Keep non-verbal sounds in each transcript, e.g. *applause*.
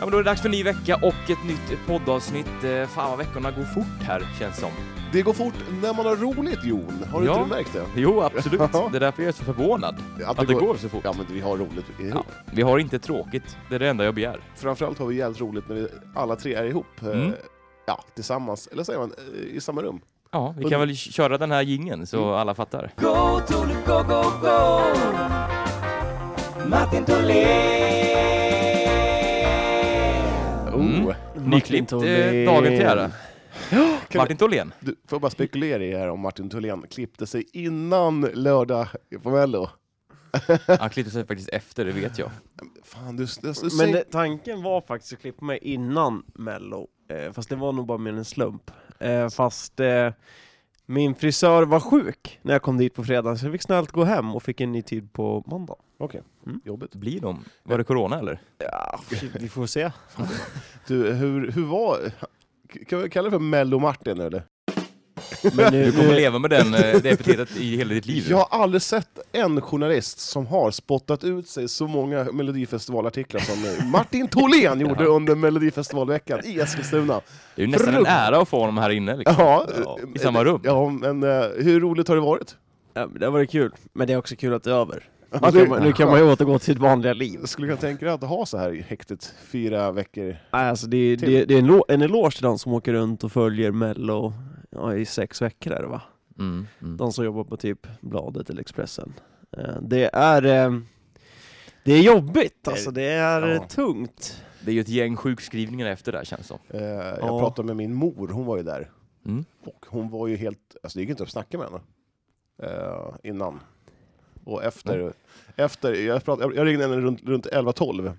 men då är det dags för en ny vecka och ett nytt poddavsnitt. Eh, Fan vad veckorna går fort här, känns som. Det går fort när man har roligt, Jon. Har Ja. inte du märkt det? Jo, absolut. Ja. Det är därför jag är så förvånad att det går så fort. Ja, men vi har roligt ihop. Vi har inte tråkigt, det är det enda jag begär. Framförallt har vi jävligt roligt när vi alla tre är ihop. eh, Mm. Ja, tillsammans. Eller säger man eh, i samma rum. Ja, vi kan väl köra den här gingen så alla fattar. Go, Tolo, go, go, go. Martin Tholén. Mm. Oh. Nyklippt eh, Tholén. dagen till ära. Kan Martin Tholén. Du, får jag bara spekulera i här om Martin Thulén klippte sig innan lördag på Mello? Han klippte sig faktiskt efter, det vet jag. Fan, du... du, du Men säg- det, tanken var faktiskt att klippa mig innan mello, eh, fast det var nog bara mer en slump. Eh, fast eh, min frisör var sjuk när jag kom dit på fredagen, så jag fick snällt gå hem och fick en ny tid på måndag. Jobbigt. Blir de? Var det corona eller? Ja, Ah, vi får se. Du, hur, hur var... Kan vi kalla det för Mello-Martin nu eller? *laughs* Men nu, Du kommer nu, leva med den, eh, det epitetet i hela ditt liv. Jag har aldrig sett en journalist som har spottat ut sig så många *laughs* Melodifestivalartiklar som Martin Tholén gjorde under Melodifestivalveckan i Eskilstuna. Det är ju nästan en ära att få honom här inne. Liksom. Ja, eh, I samma rum. Ja, men eh, hur roligt har det varit? ja, men det har varit kul, men det är också kul att det är över. Nu, Ja, det- kan, man, nu kan man ju återgå till sitt vanliga liv. Skulle kunna tänka dig att ha så här i häktet fyra veckor? Nej, alltså det, är- det, är- det är en, lo- en eloge till de som åker runt och följer mello ja, i sex veckor är det va? Mm, mm. De som jobbar på typ Bladet eller Expressen. Eh, Det är, eh, det är jobbigt alltså, det är Ja. tungt. Det är ju ett gäng sjukskrivningar efter det här känns det som. Eh, jag Ja. pratade med min mor, hon var ju där. Mm. Och hon var ju helt... Alltså det gick inte att snacka med henne eh, innan. Och efter... efter jag, pratade, jag ringde henne runt, runt 11-12. Eh,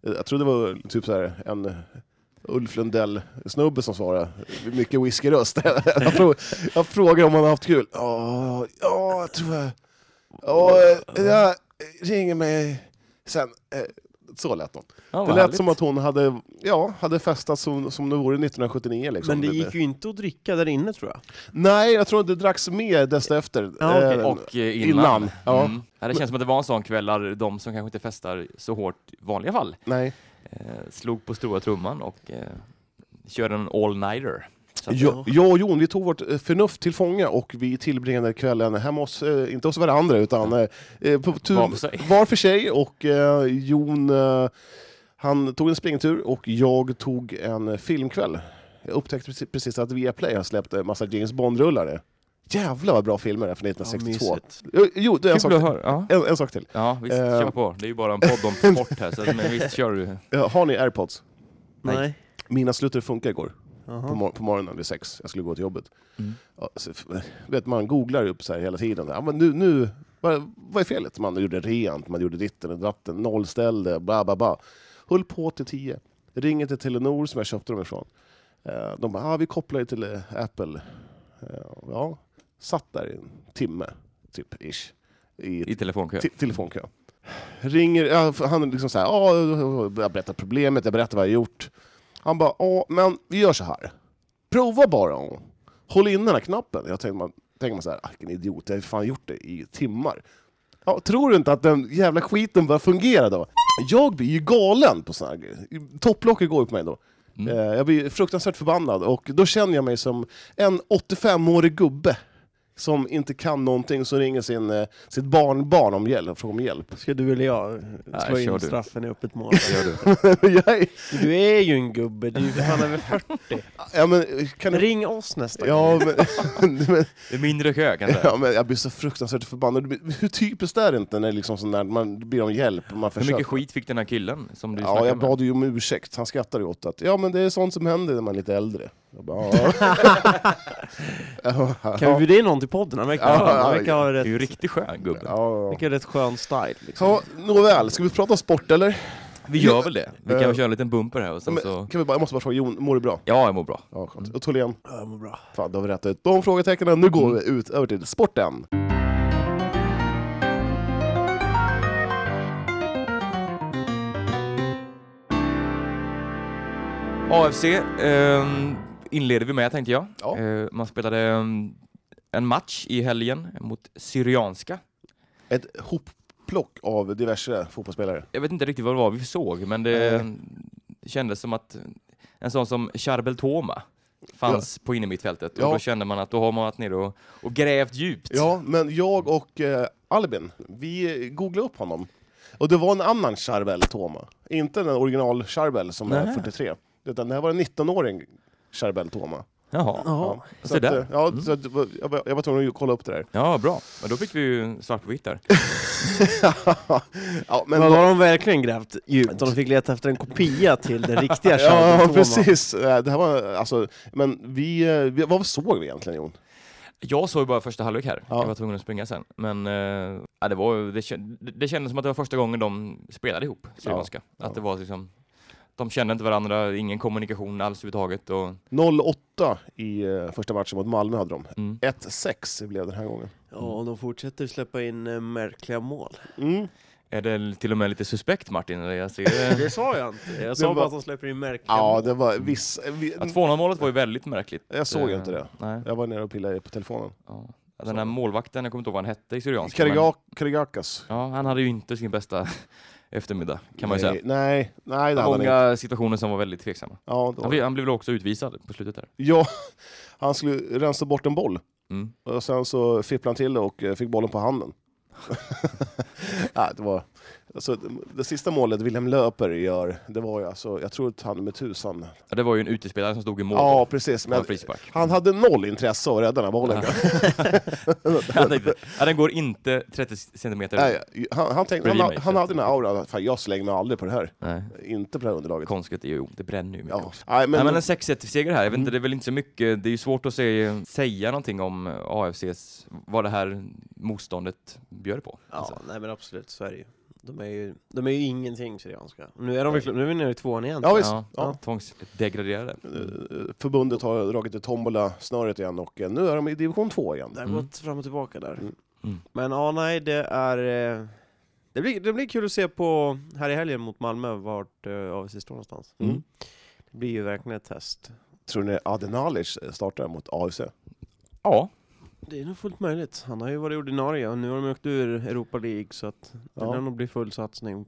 Jag tror det var typ så här en Ulf Lundell-snubbe som svarade. Mycket whiskyröst. *laughs* jag, frå, jag frågade om han har haft kul. Ja, ja, jag tror jag... Ja, eh, jag ringer mig sen. Eh, Så lät hon. Ja, vad Det lät härligt. som att hon hade, ja, hade festat som, som det vore 1979 liksom. Men det gick ju inte att dricka där inne tror jag. Nej, jag tror att det dracks mer desto efter. Ja, okej. Eh, Och eh, innan. innan. Ja. Mm. Ja, det känns som att det var en sån kväll där de som kanske inte festar så hårt i vanliga fall Nej. eh, slog på stora trumman och eh, körde en all-nighter. Så att- Jag, jag och Jon, vi tog vårt eh, förnuft till fånga och vi tillbringade kvällen hemma hos, eh, inte hos varandra, utan eh, eh, på tur, Var för *laughs* sig. var för sig. Och eh, Jon, eh, han tog en springtur och jag tog en eh, filmkväll. Jag upptäckte precis- precis att Viaplay har släppt en massa James Bond-rullare. Jävlar vad bra filmer det är från 1962. mysigt. Jo, jo, det är en Kul att sak, höra. Ja. en, en sak till. ja, visst, Eh. kör på. Det är ju bara en podd om *laughs* sport här, så att- men visst kör du. Eh, Har ni airpods? Nej. Nej. Mina slutade funka igår. Jaha. på, mor- på morgonen vid sex. Jag skulle gå till jobbet. Mm. Ja, så, f- vet, man googlar upp så här hela tiden. Ja, men nu, nu, vad, vad är felet? Man gjorde rent, man gjorde ditten och datten, nollställde, bla bla bla. Höll på till tio. Ringer till Telenor som jag köpte dem ifrån. Eh, De bara, ah, vi kopplar ju till eh, Apple. Eh, Ja, satt där i en timme, typ ish, i I telefonkö. Te- telefonkö. Ringer, ja, för han är liksom så här, "Ja, jag berättar problemet, jag berättar vad jag har gjort. Han bara, ja men vi gör så här. Prova bara. Håll in den här knappen. Jag tänker man, tänker man så här, "Ah, vilken idiot, jag har ju fan gjort det i timmar. Ja, tror du inte att den jävla skiten börjar fungera då? Jag blir ju galen på sådana här grejer. Topplocket går ju på mig då. Mm. Eh, Jag blir fruktansvärt förbannad och då känner jag mig som en 85-årig gubbe som inte kan någonting, som ringer sin, eh, sitt barnbarn om hjälp, och frågar om hjälp. Ska du eller jag eh, slå Nej, kör in du. straffen i öppet *laughs* mål? jag är, Du är ju en gubbe, du är ju för fan över 40. ja, men, eh, kan du, Ring oss nästa gång. ja, men, *laughs* men, Det är mindre kö kanske. ja, men jag blir så fruktansvärt förbannad. Hur typiskt är det inte när det liksom sån där, man ber om hjälp och man Hur försöker? mycket skit fick den här killen som du Ja, snackade jag med? bad ju om ursäkt. Han skrattade ju åt att ja, men det är sånt som händer när man är lite äldre. Jag bara, *laughs* ja. *laughs* ja, Kan vi bjuda in någon till podden? Han verkar Ja, skön, han ja, verkar ha Det är ju en rätt, riktigt skön gubbe. ja, ja. verkar ha rätt skön style liksom. Ja, nåväl, ska vi prata sport eller? Vi gör väl det. Vi kan Eh. väl köra en liten bumper här och sen Men, så... Mm. kan vi bara, jag måste bara fråga, Jon, mår du bra? Ja, jag mår bra. Ja, skönt. Och Tholén? Ja, det mår bra. Fan, då har vi rätt ut de frågetecknen. Nu Mm. går vi ut över till sporten. AFC ehm, inleder vi med tänkte jag. Ja. Eh, man spelade ehm, en match i helgen mot Syrianska. Ett hopplock av diverse fotbollsspelare. Jag vet inte riktigt vad det var vi såg, men det, kändes som att en sån som Charbel Toma fanns på innermittfältet och Ja. då kände man att då har man varit nere och, och grävt djupt. Ja, men jag och eh, Albin, vi eh, googlade upp honom. Och det var en annan Charbel Toma. Inte den original Charbel som är Nähä. 43. Utan det här var en 19-åring Charbel Toma. Jaha. Ja. Så Så att, där. Mm. eh, ja, så att, det var- jag, var, jag var tvungen att kolla upp det där. Ja, bra. Men då fick vi ju svart på vitt där. ja, men, Men då har de verkligen grävt djupt och de fick leta efter en kopia till den *laughs* riktiga Charlie ja, Thomas. precis. Eh, Det här var, alltså, men vi, eh, vi, vad såg vi egentligen Jon? Jag såg ju bara första halvlek här. Ja. Jag var tvungen att springa sen. Men eh, ja, det, var, ju- det, kän- det kändes som att det var första gången de spelade ihop, Syrianska. Att Ja. det var liksom, de kände inte varandra, ingen kommunikation alls överhuvudtaget. Och, 0-8 i eh, första matchen mot Malmö hade de. mm. 1-6 blev det den här gången. Ja, och de fortsätter släppa in eh, märkliga mål. Mm. Är det till och med lite suspekt Martin? Eller Jag *laughs* ser, *laughs* Det sa jag inte. Jag Det sa var- bara att de släpper in märkliga Ja, mål. det var viss... eh, Vi, att 2-0-målet var ju väldigt märkligt. jag såg inte Eh, det. Nej. Jag var nere och pillade på telefonen. Ja. Den här målvakten, jag kommer inte ihåg vad han hette i Syrianska. men- Karigak- Karigakas. Ja, han hade ju inte sin bästa *laughs* eftermiddag, kan man ju Nej, säga. nej, nej det hade han inte. Många situationer som var väldigt tveksamma. Ja, det Han var- blev, han blev väl också utvisad på slutet där. ja, han skulle rensa bort en boll, Mm. och sen så fipplade han till det och eh, fick bollen *laughs* på handen. ja, det, var, alltså, det sista målet Wilhelm Löper gör, det var ju alltså, jag tror att han med tusan... Ja, det var ju en utespelare som stod i mål. Ja, precis. på en Men frispark. han hade noll intresse av att rädda den här bollen. *laughs* Han tänkte, ja, den går inte 30 centimeter. Nej. Nej, han, han, tänkte, han, Bredvid mig, han så hade den här auran, att, fan jag slänger mig aldrig på det här. Inte på det här underlaget. Konstigt är ju, det bränner ju mycket Ja. också. Nej, Nej, men, men en 6-1-seger här, jag vet inte, Mm. det är väl inte så mycket, det är ju svårt att se, säga någonting om AFCs, vad det här motståndet bjöd på. Ja, Alltså. nej men absolut, så är det ju. De är ju, de är ju ingenting Syrianska. Nu är de verkligen, nu är vi nere i tvåan igen. ja, visst, Ja, ja. Tvångsdegraderade. Eh, förbundet har dragit i tombola-snöret igen och eh, nu är de i division 2 igen. Det har Mm. gått fram och tillbaka där. Mm. Mm. Men ja, nej, det är... eh, Det blir, det blir kul att se på här i helgen mot Malmö vart eh, AFC står någonstans. Mm. Det blir ju verkligen ett test. Tror ni Adenalic startar mot AFC? Ja, Det är nog fullt möjligt. Han har ju varit ordinarie och nu har de åkt ur Europa League så att det Ja. lär nog bli full satsning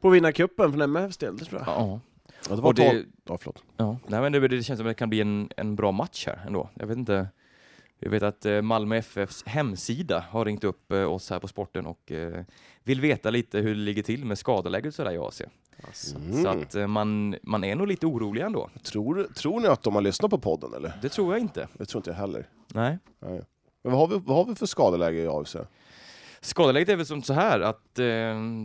på att vinna cupen för MFs del, det tror jag. ja. Ja, det var Och det... det, Ja, förlåt. ja. Nej, men det, det känns som att det kan bli en, en bra match här ändå. Jag vet inte, jag vet att eh, Malmö FFs hemsida har ringt upp eh, oss här på sporten och eh, vill veta lite hur det ligger till med skadeläget och sådär i AC. Alltså. Mm. Så att eh, man, man är nog lite orolig ändå. tror, tror ni att de har lyssnat på podden eller? Det tror jag inte. Det tror inte jag heller. Nej. Nej. Men vad har, vi, vad har vi för skadeläge i AFC? Skadeläget är väl som så här att eh,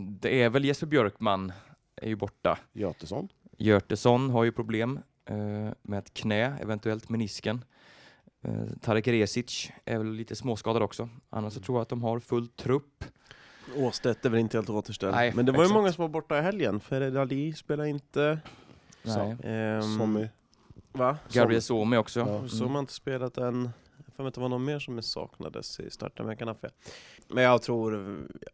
det är väl Jesper Björkman är ju borta. Götesson? Görtesson har ju problem eh, med ett knä, eventuellt menisken. Eh, Tarek Resic är väl lite småskadad också. Annars så Mm. tror jag att de har full trupp. Åstedt är väl inte helt återställd. Nej, Men det var ju exakt. många som var borta i helgen. Fered Ali spelar inte. Nej. Ehm, Som i... Va? Gabriel Suomi också. Mm. Ja. Så har man inte spelat än. Jag får inte det var någon mer som saknades i starten, men jag kan ha fel. Men jag tror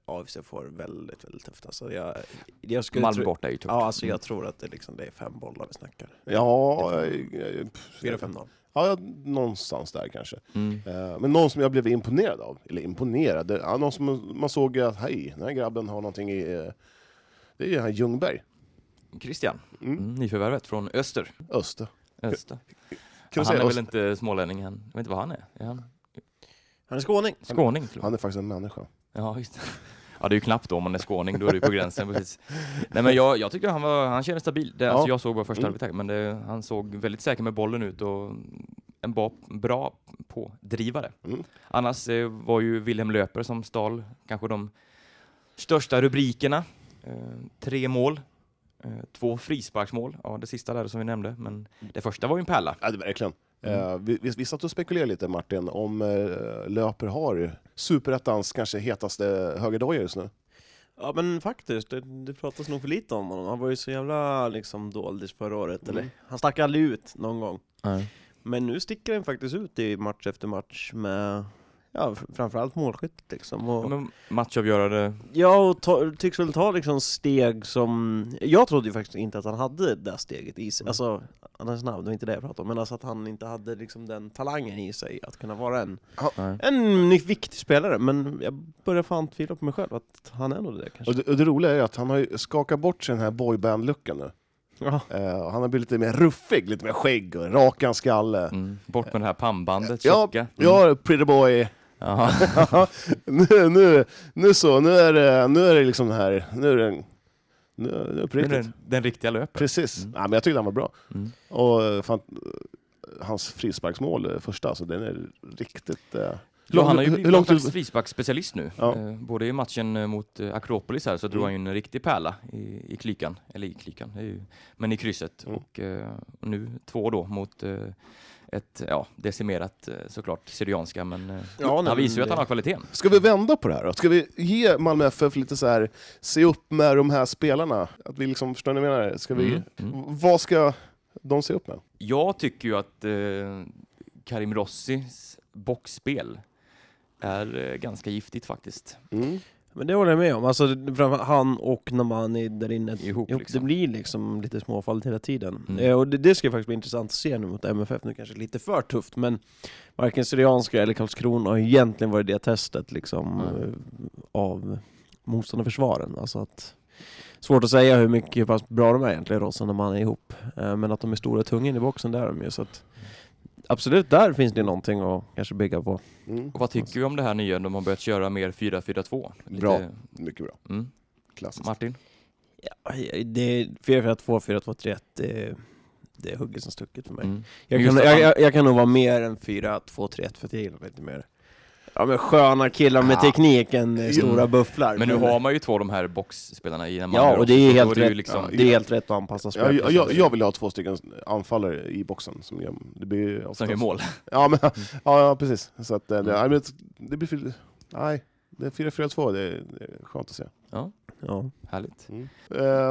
AFC får väldigt, väldigt tufft alltså. Jag, jag skulle Malmö tro- borta är Mm. ju tungt. Ja, alltså jag tror att det, liksom, det är fem bollar vi snackar. Ja, eh, eh, pff, 4-5-0. ja, ja, någonstans där kanske. Mm. Eh, Men någon som jag blev imponerad av, eller imponerad, det- ja, någon som man såg att hej, den här grabben har någonting i... eh, Det är ju han Ljungberg, Christian, Mm. mm. nyförvärvet från Öster. Öster. Öster. Kan han du säga är väl Öster? inte smålänning, han. jag vet inte vad han är. är han Han är skåning. skåning? Tror jag. Han är faktiskt en människa. Ja, just det. Ja, det är ju knappt då om man är skåning, då är det ju på gränsen precis. Nej men jag, jag tyckte han var, han kändes stabil. Det, alltså, Ja. jag såg bara första Mm. halvlek, men det, han såg väldigt säker med bollen ut och en bra, bra pådrivare. Mm. Annars eh, var ju Wilhelm Löper som stal kanske de största rubrikerna. Eh, tre mål, eh, två frisparksmål, ja det sista där som vi nämnde, men det första var ju en pärla. Ja, det verkligen. Mm. Eh, vi, vi, vi satt och spekulerade lite, Martin, om eh, Löper har superettans kanske hetaste högerdoja just nu. Ja men faktiskt, det, det pratas nog för lite om honom. Han var ju så jävla liksom doldis förra året, Mm. eller? Han stack aldrig ut någon gång. Men nu sticker han faktiskt ut i match efter match med, ja fr- framförallt målskytt liksom. Och, Ja, men matchavgörande, Ja, och ta, tycks väl ta liksom steg som... Jag trodde ju faktiskt inte att han hade det där steget i Mm. sig. Alltså, han är snabb, det var inte det jag pratade om. Men alltså att han inte hade liksom den talangen i sig att kunna vara en, Nej. en ny- viktig spelare. Men jag börjar fan tvivla på mig själv att han är nog det där, kanske. Och det, och det roliga är ju att han har ju skakat bort sig den här boyband-looken nu. Ja. Eh, och han har blivit lite mer ruffig, lite mer skägg och rak hans skalle. Mm. Bort med det här pannbandet, Ja, tjocka. Mm. ja, pretty boy. *laughs* Jaha. nu, nu, nu så, nu är det, nu är det liksom det här, nu är det, nu, nu är det på Men riktigt. Den, den riktiga löpen. Precis. Ja, men jag tyckte han var bra. Mm. Och eh, fan, eh, hans frisparksmål, eh, första, alltså, den är riktigt... Eh, Ja, han har ju hur- blivit hur någon långt slags ut- frisparksspecialist nu. Ja. Eh, både i matchen eh, mot eh, Akropolis här så drog Mm. han ju en riktig pärla i, i klykan, eller i klykan, det är ju, men i krysset. Mm. Och eh, nu två då mot eh, ett ja, decimerat eh, såklart Syrianska, men eh, nej, han men visar ju att det- han har kvaliteten. Ska vi vända på det här då? Ska vi ge Malmö FF lite så här, se upp med de här spelarna? Att vi liksom, förstår ni vad jag menar? Ska vi, Mm. Mm. v- Vad ska de se upp med? Jag tycker ju att eh, Karim Rossis boxspel är eh, ganska giftigt faktiskt. Mm. Men det håller jag med om. Alltså, det- framför- han och Namani där inne Ihop, ihop, liksom. Det blir liksom lite småfall hela tiden. Mm. Eh, och det, det ska ju faktiskt bli intressant att se nu mot MFF. Nu kanske lite för tufft, men varken Syrianska eller Karlskrona har egentligen varit det testet liksom, Nej. eh, av motståndarförsvaren. Alltså att, svårt att säga hur mycket hur pass bra de är egentligen, Ross och Namani ihop. Eh, men att de är stora och tunga in i boxen, där är de ju. Så att, absolut, där finns det någonting att kanske bygga på. Mm. Och vad tycker vi om det här nya? De har börjat köra mer 4-4-2. Lite- Bra. Mycket bra. Mm. Klassiskt. Martin? Ja, det 4-4-2, 4-2-3-1, det, eh, det är hugget som stucket för mig. Mm. Jag, Men kan, just att jag, han- jag, jag kan nog vara mer än 4-2-3-1 för att jag gillar mig lite mer. Ja men sköna killar med Ja. tekniken, eh, stora Mm. bufflar. eh, Men nu har man ju två av de här boxspelarna i Malmö Ja, och också, det är så helt då ju rätt. liksom- Det är helt rätt att anpassa Jag, spelet. jag, jag, jag vill ha två stycken anfallare i boxen som gör, det blir ju Som oftast- gör mål. Ja, men, *laughs* ja, ja precis. Så att, eh, det, Mm. nej, men det- det blir... fyll- Nej, det är 4-4-2, det, är- det är skönt att se. Ja. Härligt. Eh,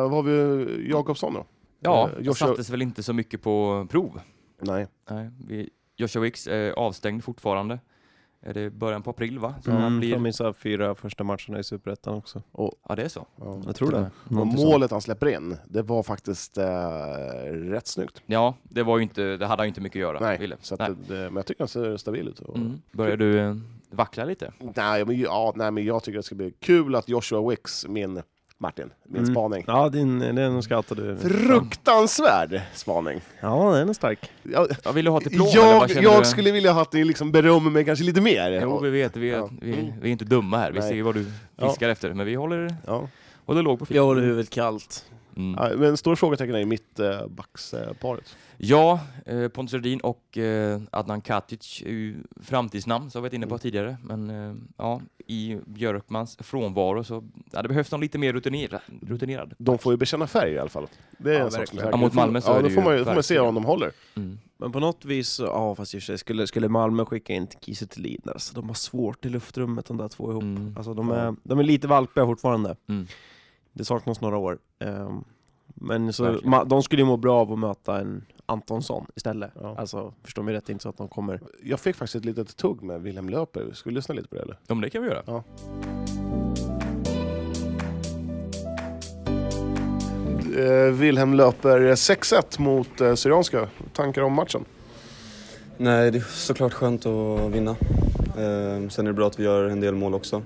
vad har vi Jakobsson då? Ja, Eh, det Joshua- sattes väl inte så mycket på prov. Nej. Nej, vi, Joshua Wicks är avstängd fortfarande. Är det början på april va? Så han Mm, De blir... missade fyra första matcherna i Superettan också. Ja, det är så. Ja. Jag tror det. Och Någonting sånt. målet han släpper in, det var faktiskt eh, rätt snyggt. Ja, det var ju inte, det hade han ju inte mycket att göra, Wille. Så att Nej. det, det, men jag tycker han ser stabil ut. Och, Mm. Börjar du eh, vackla lite? nej, men, ju- ja, nej, men jag tycker det ska bli kul att Joshua Wicks, min Martin, min Mm. spaning. Ja, din, den scoutade du. Fruktansvärd spaning! Ja, den är stark. Jag, Ja, vill du ha diplom eller vad jag, känner jag du? skulle vilja ha att ni liksom berömmer mig kanske lite mer. Jo, vi vet, vi är, Ja. vi, Mm. vi är inte dumma här. Vi Nej. ser ju vad du fiskar efter, men vi håller, ja. håller låg på Jag filmen. håller huvudet kallt. Mm. Ja, men stora frågetecken är mitt eh, backsparet. Ja, eh, Pontus Rudin och eh, Adnan Katic är ju framtidsnamn som vi varit inne på Mm. tidigare. Men eh, ja, i Björkmans frånvaro så ja, det behövs någon lite mer rutinerad. rutinerad. De får ju bekänna färg i alla fall. Det är Ja, en sak som verkligen. säkert- Ja, mot Malmö så ja, är då det får ju man, ju- får man se verkligen. om de håller. Mm. Men på något vis, så- ja fast i och för sig, skulle, skulle Malmö skicka in Kiese Thelin där, så de har svårt i luftrummet de där två ihop. Mm. Alltså de är, de är lite valpiga fortfarande. Mm. Det saknas några år. Ehm, men så, Verkligen. ma, de skulle ju må bra av att möta en Antonsson istället. Ja. Alltså, förstår mig rätt, det är inte så att de kommer... Jag fick faktiskt ett litet tugg med Wilhelm Löper. Ska vi lyssna lite på det eller? Ja, men det kan vi göra. Eh, Wilhelm Löper 6-1 mot eh, Syrianska. Tankar om matchen? Nej, det är såklart skönt att vinna. Eh, sen är det bra att vi gör en del mål också.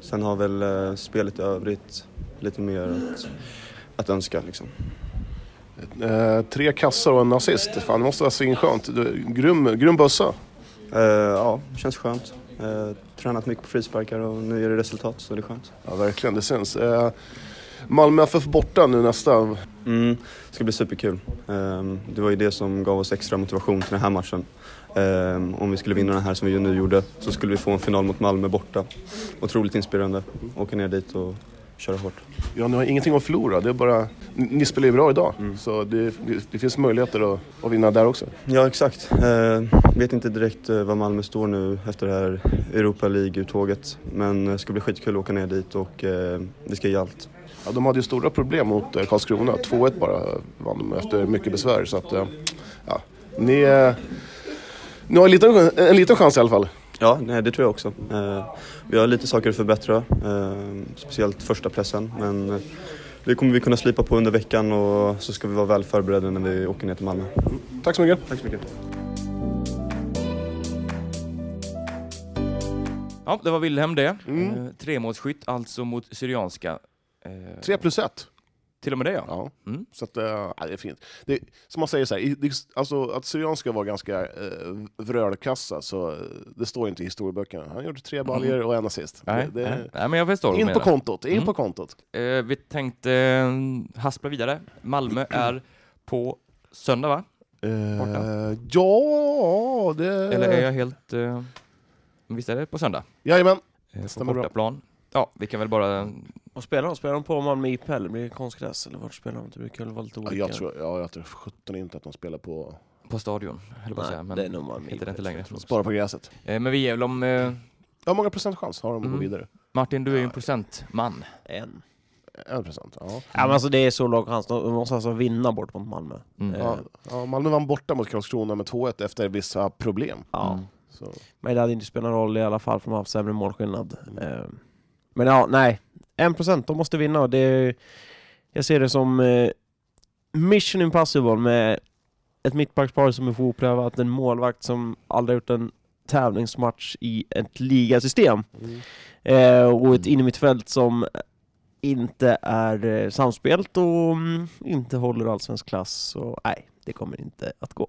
Sen har väl eh, spelet i övrigt lite mer att, att önska. Liksom. Eh, tre kassar och en assist. Fan, det måste vara svinskönt. Du, Grym, grym bössa. Eh, ja, det känns skönt. Eh, tränat mycket på frisparkar och nu är det resultat så det är skönt. Ja, verkligen. Det syns. Eh, Malmö FF borta nu nästa. Mm, det ska bli superkul. Eh, det var ju det som gav oss extra motivation till den här matchen. Eh, om vi skulle vinna den här som vi nu gjorde så skulle vi få en final mot Malmö borta. Otroligt inspirerande. Åka ner dit och köra hårt. Ja, ni har ingenting att förlora. Det är bara... Ni, ni spelar ju bra idag, Mm. så det, det finns möjligheter att, att vinna där också. Ja, exakt. Eh, vet inte direkt eh, var Malmö står nu efter det här Europa League-uttåget. Men det ska bli skitkul att åka ner dit och eh, vi ska ge allt. Ja, de hade ju stora problem mot eh, Karlskrona. 2-1 bara vann de efter mycket besvär. Så att, eh, ja, ni, eh, ni har en liten, en liten chans i alla fall. Ja, nej, det tror jag också. Eh, vi har lite saker att förbättra, eh, speciellt första pressen. Men eh, det kommer vi kunna slipa på under veckan och så ska vi vara väl förberedda när vi åker ner till Malmö. Tack så mycket. Tack så mycket. Ja, det var Wilhelm det. Mm. Eh, tremålsskytt alltså mot Syrianska. Eh, 3 plus 1. Till och med det ja. Ja. Mm. Så att, eh, ja, det är fint. Det, som man säger, så här, i- det, alltså, att Syrian ska vara ganska eh, vrölkassa, så eh, det står inte i historieböckerna. Han gjorde tre baljer och en assist. Mm. Nej, det, det, nej. nej, men jag förstår vad du in på menar. kontot, in Mm. på kontot. Eh, vi tänkte eh, haspla vidare. Malmö är på söndag va? Eh, ja, det... Eller är jag helt... Eh, visst är det på söndag? Jajamän. Eh, på Stämmer bra. bortaplan. Ja, vi kan väl bara... Och spelar de? Spelar de på Malmö IP eller blir det konstgräs? Eller vart spelar de? Det brukar väl vara lite Ja, olika? jag tror, ja, jag tror sjutton inte att de spelar på... På stadion, höll jag på att Nej, säga. Men det är nog Malmö heter IP. det inte längre. Spara på gräset. Eh, men vi ger väl om... Eh, Hur många procent chans har de att Mm. gå vidare? Martin, du är ju en procentman. En. En procent, Eh. ja. Ja, men alltså det är så låg chans. De måste alltså vinna bort mot Malmö. Mm. Eh, Ja, ja, Malmö vann borta mot Karlskrona med 2-1 efter vissa problem. Ja. Mm. Så. Men det hade inte spelat någon roll i alla fall för de har haft sämre målskillnad. Mm. Eh, Men ja, nej. En procent, de måste vinna och det är, Jag ser det som eh, mission impossible med ett mittbackspar som är för oprövat, en målvakt som aldrig gjort en tävlingsmatch i ett ligasystem eh, och Mm. ett innermittfält som inte är eh, samspelt och mm, inte håller allsvensk klass. Så nej, det kommer inte att gå.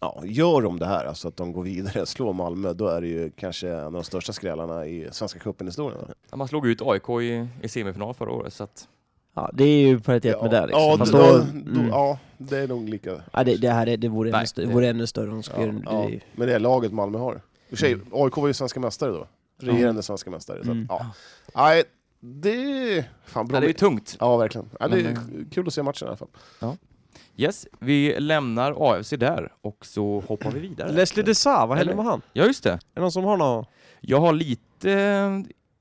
Ja, gör de det här, alltså att de går vidare, *laughs* slår Malmö, då är det ju kanske en av de största skrällarna i Svenska cupen-historien. Ja, Man slog ut AIK i, i semifinal förra året, så att... Ja, det är ju paritet ja, med det. Liksom. Ja, Fast då, då- då, mm. ja, det är nog lika. Ja, det, det här är, det vore, Nej, ännu, stö- det- vore ännu större om de skulle Ja, göra ja. det. Men det är laget Malmö har. I och för sig, AIK var ju svenska mästare då. Regerande svenska mästare. Så att, Mm. ja. Nej, det... Fan, bra. Ja, det är ju tungt. Ja, verkligen. Ja, det är kul att se matchen i alla fall. Yes, vi lämnar AFC där och så hoppar vi vidare. Leslie de Sa, vad hände hände Eller- med han? Är Ja, just det. det någon som har något? Jag har lite eh,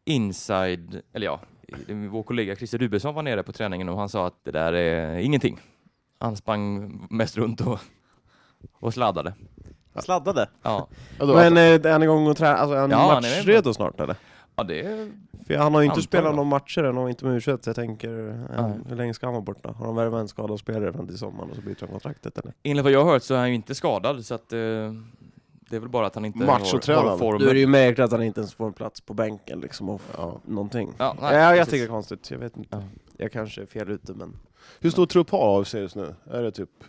inside, eller ja, vår kollega Christer Rubensson var nere på träningen och han sa att det där är ingenting. Han sprang mest runt och, och sladdade. Sladdade. Ja, Ja, då, Men eh, är han igång och tränar? Alltså, är han Ja, han är matchredo snart eller? ja det är... För han har ju inte Antar spelat jag. några matcher än och inte med u så jag tänker, eh, Nej. hur länge ska han vara borta? Har de värvat en skadad spelare fram till sommaren och så byter han kontraktet eller? Enligt vad jag har hört så är han ju inte skadad så att eh, det är väl bara att han inte har, Machotränad. har formen. Då är det ju märkligt att han inte ens får en plats på bänken liksom, och ja. någonting. Ja, Ja, nej, jag precis. tycker det är konstigt, jag vet inte. Ja. Jag kanske är fel ute men... Hur stor trupp har AFC just nu? Är det typ... Är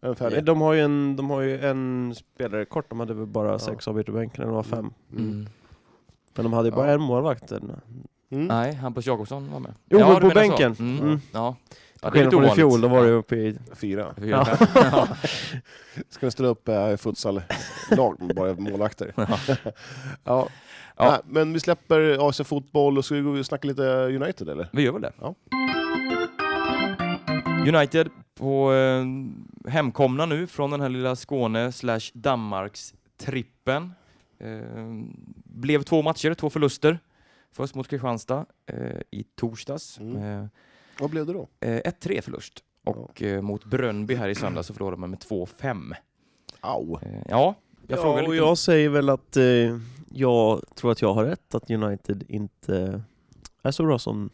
den Eh, färdig? De har ju en, de har ju en spelare kort, de hade väl bara Ja. sex avbytare på bänken, eller det var fem. Mm. Men de hade ju bara Ja. en målvakt. eller? Mm. Nej, Hampus Jakobsson var med. Jo, du men på menar så. bänken. Mm. Mm. Ja. ja, det är Skillnad lite från i ovanligt. fjol, då var det ju uppe i... Fyra. Fyra, fem. Ska ni ställa upp äh, futsal-lag med bara målvakter? *laughs* ja. Ja. Nej, men vi släpper AFC Fotboll och ska vi gå och snacka lite United eller? *laughs* Vi gör väl det. Ja. United på eh, hemkomna nu från den här lilla Skåne slash Danmarks trippen. Eh, blev två matcher, två förluster. Först mot Kristianstad eh, i torsdags. Mm. Eh, Vad blev det då? eh, 1-3 förlust. Och eh, mot Brönnby här i söndag så förlorade man med 2-5. Au. Eh, ja, jag frågar ja, och lite. jag säger väl att eh, jag tror att jag har rätt, att United inte är så bra som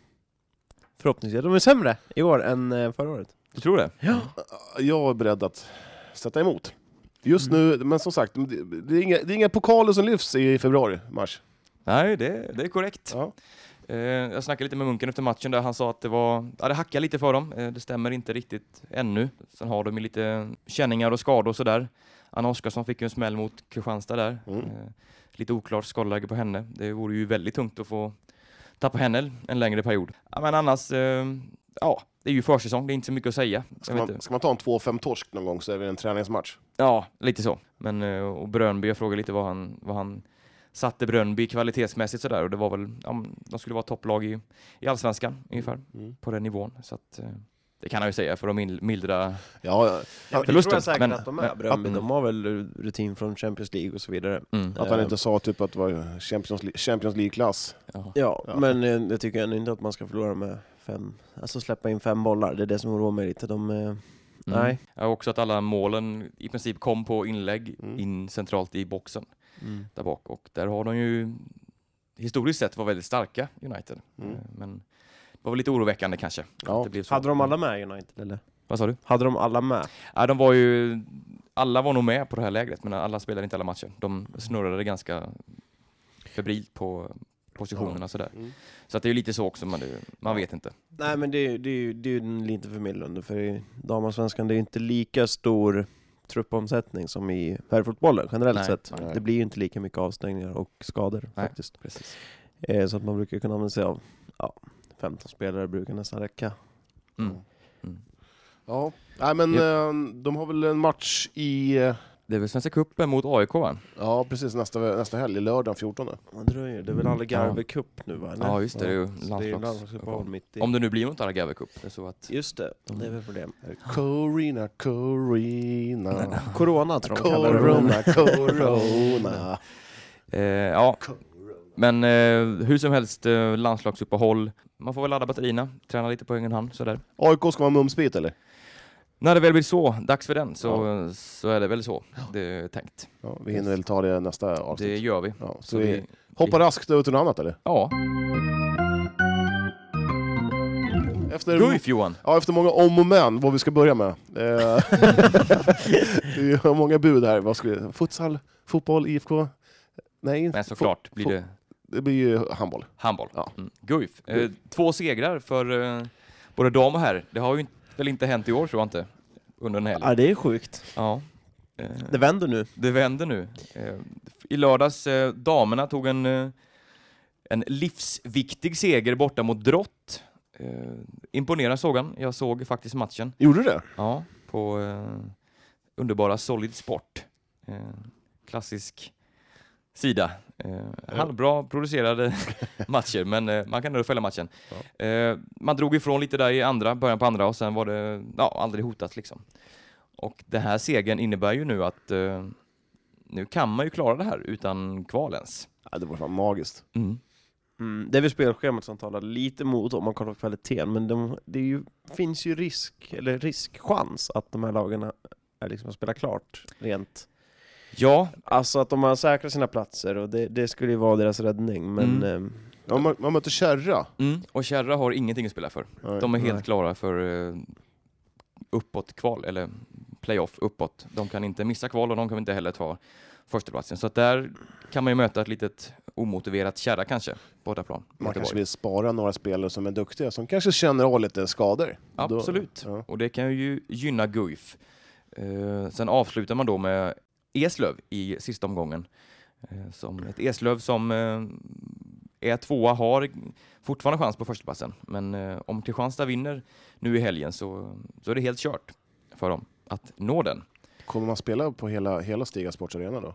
förhoppningsvis. De är sämre i år än eh, förra året. Du tror det? Ja. Jag är beredd att sätta emot. Just Mm. nu, men som sagt, det, det, är inga, det är inga pokaler som lyfts i februari, mars. Nej, det, det är korrekt. Ja. Eh, jag snackade lite med Munken efter matchen där han sa att det var, ja det hackar lite för dem. Eh, det stämmer inte riktigt ännu. Sen har de ju lite känningar och skador och sådär. Anna Oskarsson fick ju en smäll mot Kristianstad där. Mm. Eh, lite oklart skadeläge på henne. Det vore ju väldigt tungt att få tappa henne en längre period. Ja, men annars, eh, ja, det är ju försäsong. Det är inte så mycket att säga. Ska, Jag vet man, inte. ska man ta en 2-5-torsk någon gång så är det en träningsmatch. Ja, lite så. Men, eh, och Brönby, jag frågade lite vad han, vad han satte Brönby kvalitetsmässigt sådär och det var väl, ja, men de skulle vara topplag i, i allsvenskan ungefär, Mm. på den nivån. Så att, eh, det kan han ju säga för att mil- mildra Ja, ja. Ja, det Förlusten, tror jag säkert men- att de är. men- Bröndby, Mm. de har väl rutin från Champions League och så vidare. mm. Att han inte sa typ att det var Champions, Le- Champions League-klass. ja. Ja, Ja. men eh, jag tycker ändå inte att man ska förlora med fem, alltså släppa in fem bollar. Det är det som oroar mig lite. De, eh, Mm. Nej. Ja, och också att alla målen i princip kom på inlägg Mm. in centralt i boxen Mm. där bak och där har de ju historiskt sett var väldigt starka United. Mm. Eh, Men det var väl lite oroväckande kanske. Ja. Att det blev så. Hade de alla med United eller? Vad sa du? Hade de alla med? Ja, de var ju, alla var nog med på det här lägret, men alla spelade inte alla matcher. De snurrade ganska febrilt på, positionerna sådär. Mm. Så att det är ju lite så också, man, man vet inte. Nej men det, är ju- det, är ju- det är ju lite förmildrande för i damallsvenskan det är ju inte lika stor truppomsättning som i herrfotbollen generellt Nej, sett. nej. Det blir ju inte lika mycket avstängningar och skador Nej. faktiskt. Eh, så att man brukar kunna använda sig av ja, 15 spelare brukar nästan räcka. Mm. Ja. Nej, men Yep. eh, de har väl en match i... eh, Det är väl Svenska Cupen mot AIK va? Ja, precis. Nästa, nästa helg, lördag 14. Vad dröjer? Det är väl Algarve Cup nu va? eller? Mm, Ja, just det, det är ju Så det är ju landslags- landslagsuppehåll mitt i. Om Mm. det nu blir mot Algarve Cup. Det är så att... Just det, det är väl problem. Corina, Corina. Corona tror jag de kallar det. Corona, *laughs* corona. Eh, ja. Men eh, hur som helst, eh, landslagsuppehåll. Man får väl ladda batterierna, träna lite på egen hand sådär. AIK ska vara mumsbit eller? När det väl blir så, dags för den, så, så är det väl så det är tänkt. Ja, vi hinner väl ta det i nästa Det avsnitt. gör vi. Ja, så Så vi vi, hoppar raskt över till något annat eller? ja, Efter, Guif Johan! ja, efter många om och men, vad vi ska börja med. Eh, *laughs* Vi har många bud här. Vad ska vi, futsal, fotboll, IFK? Nej, Men såklart blir få- det det blir ju handboll. handboll. Ja. Mm. Guif. Eh, två segrar för eh, både dam och herr. Det har ju inte- väl inte hänt i år tror jag inte, under en helg. Ja, det är sjukt. Ja. Eh, Det vänder nu. Det vänder nu. Eh, I lördags, eh, damerna tog en, eh, en livsviktig seger borta mot Drott. Eh, imponerande såg han. Jag såg faktiskt matchen. Gjorde du det? Ja, på eh, underbara Solid Sport. Eh, klassisk sida. Eh, halvbra *laughs* producerade matcher, men eh, man kan ändå följa matchen. Eh, man drog ifrån lite där i andra, början på andra och sen var det ja, aldrig hotat liksom. Och den här segern innebär ju nu att eh, nu kan man ju klara det här utan kval ens. Ja, det var fan magiskt. Mm. Mm, det är väl spelschemat som talar lite emot om man kollar på kvaliteten, men de, det är ju, finns ju risk, eller riskchans att de här lagarna är liksom att spela klart rent. Ja, Alltså att de har säkrat sina platser och det, det skulle ju vara deras räddning, men eh, Ja, man, man möter Kärra. mm. och Kärra har ingenting att spela för. Nej. De är helt Nej. klara för eh, uppåt kval eller playoff uppåt. De kan inte missa kval och de kan inte heller ta förstaplatsen. Så att där kan man ju möta ett litet omotiverat kärra kanske på bortaplan. Man kanske Göteborg. vill spara några spelare som är duktiga, som kanske känner av lite skador. Då- Absolut. ja. Och det kan ju gynna Guif. Eh, sen avslutar man då med Eslöv i sista omgången. Eh, som ett Eslöv som eh, är tvåa har fortfarande chans på förstaplatsen. Men eh, om Kristianstad vinner nu i helgen så, så är det helt kört för dem att nå den. Kommer man spela på hela, hela Stiga Sports Arena då?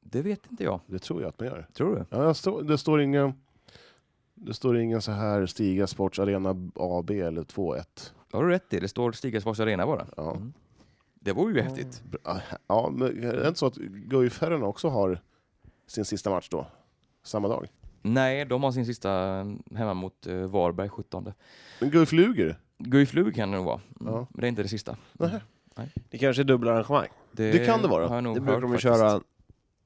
Det vet inte jag. Det tror jag att man gör. Tror du? Ja, jag står- det står ingen... Det står ingen så här Stiga Sports Arena AB eller 2-1. Det har du rätt i. Det står Stigasfors Arena bara. Ja. Mm. Det vore ju häftigt. Ja, men är det inte så att Guifherrarna också har sin sista match då? Samma dag? Nej, de har sin sista eh, hemma mot eh, Varberg 17. Men Guif Luger? Guif Lugi kan det nog vara. Mm. Ja. Men det är inte det sista. Nähä. det kanske är dubbla arrangemang. Det kan det vara. Har jag nog Det brukar hört de ju faktiskt. köra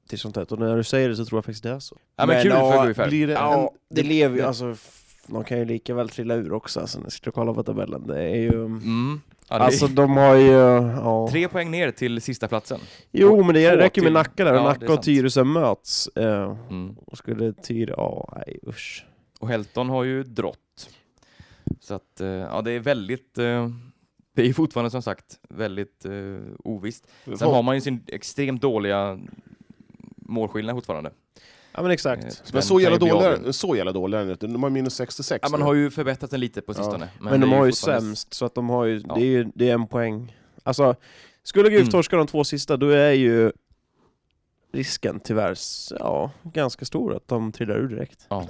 till sånt här, och när du säger det så tror jag faktiskt det är så. Ja, men kul för Guif här. Blir det Ja, en, det lever ju, det- alltså f- de kan ju lika väl trilla ur också, alltså, när jag sitter och kollar på tabellen. Det är ju... Mm. Ja, det Alltså alltså, de har ju... Ja. tre poäng ner till sista platsen. Jo men det Två räcker med till. Nacka där, Ja, och det är Nacka och sant. Tyresö möts. Eh, Mm. och skulle Tyresö... Ja, nej usch. Och Helton har ju drott. Så att, eh, ja det är väldigt, eh, det är fortfarande som sagt väldigt eh, ovisst. Sen har man ju sin extremt dåliga målskillnad fortfarande. Ja men Eh, exakt. den men så kan jävla ju bli dåliga, avgörande. så jävla dåliga är de inte. De har minus 66 Ja, man nu. har ju förbättrat den lite på sistone. Men, de det är har ju fortfarande- sämst, så att de har ju... Ja. Det, är ju det är en poäng. Alltså, skulle Guif Mm. torska de två sista, då är ju risken tyvärr s- ja, ganska stor att de trillar ur direkt. Ja.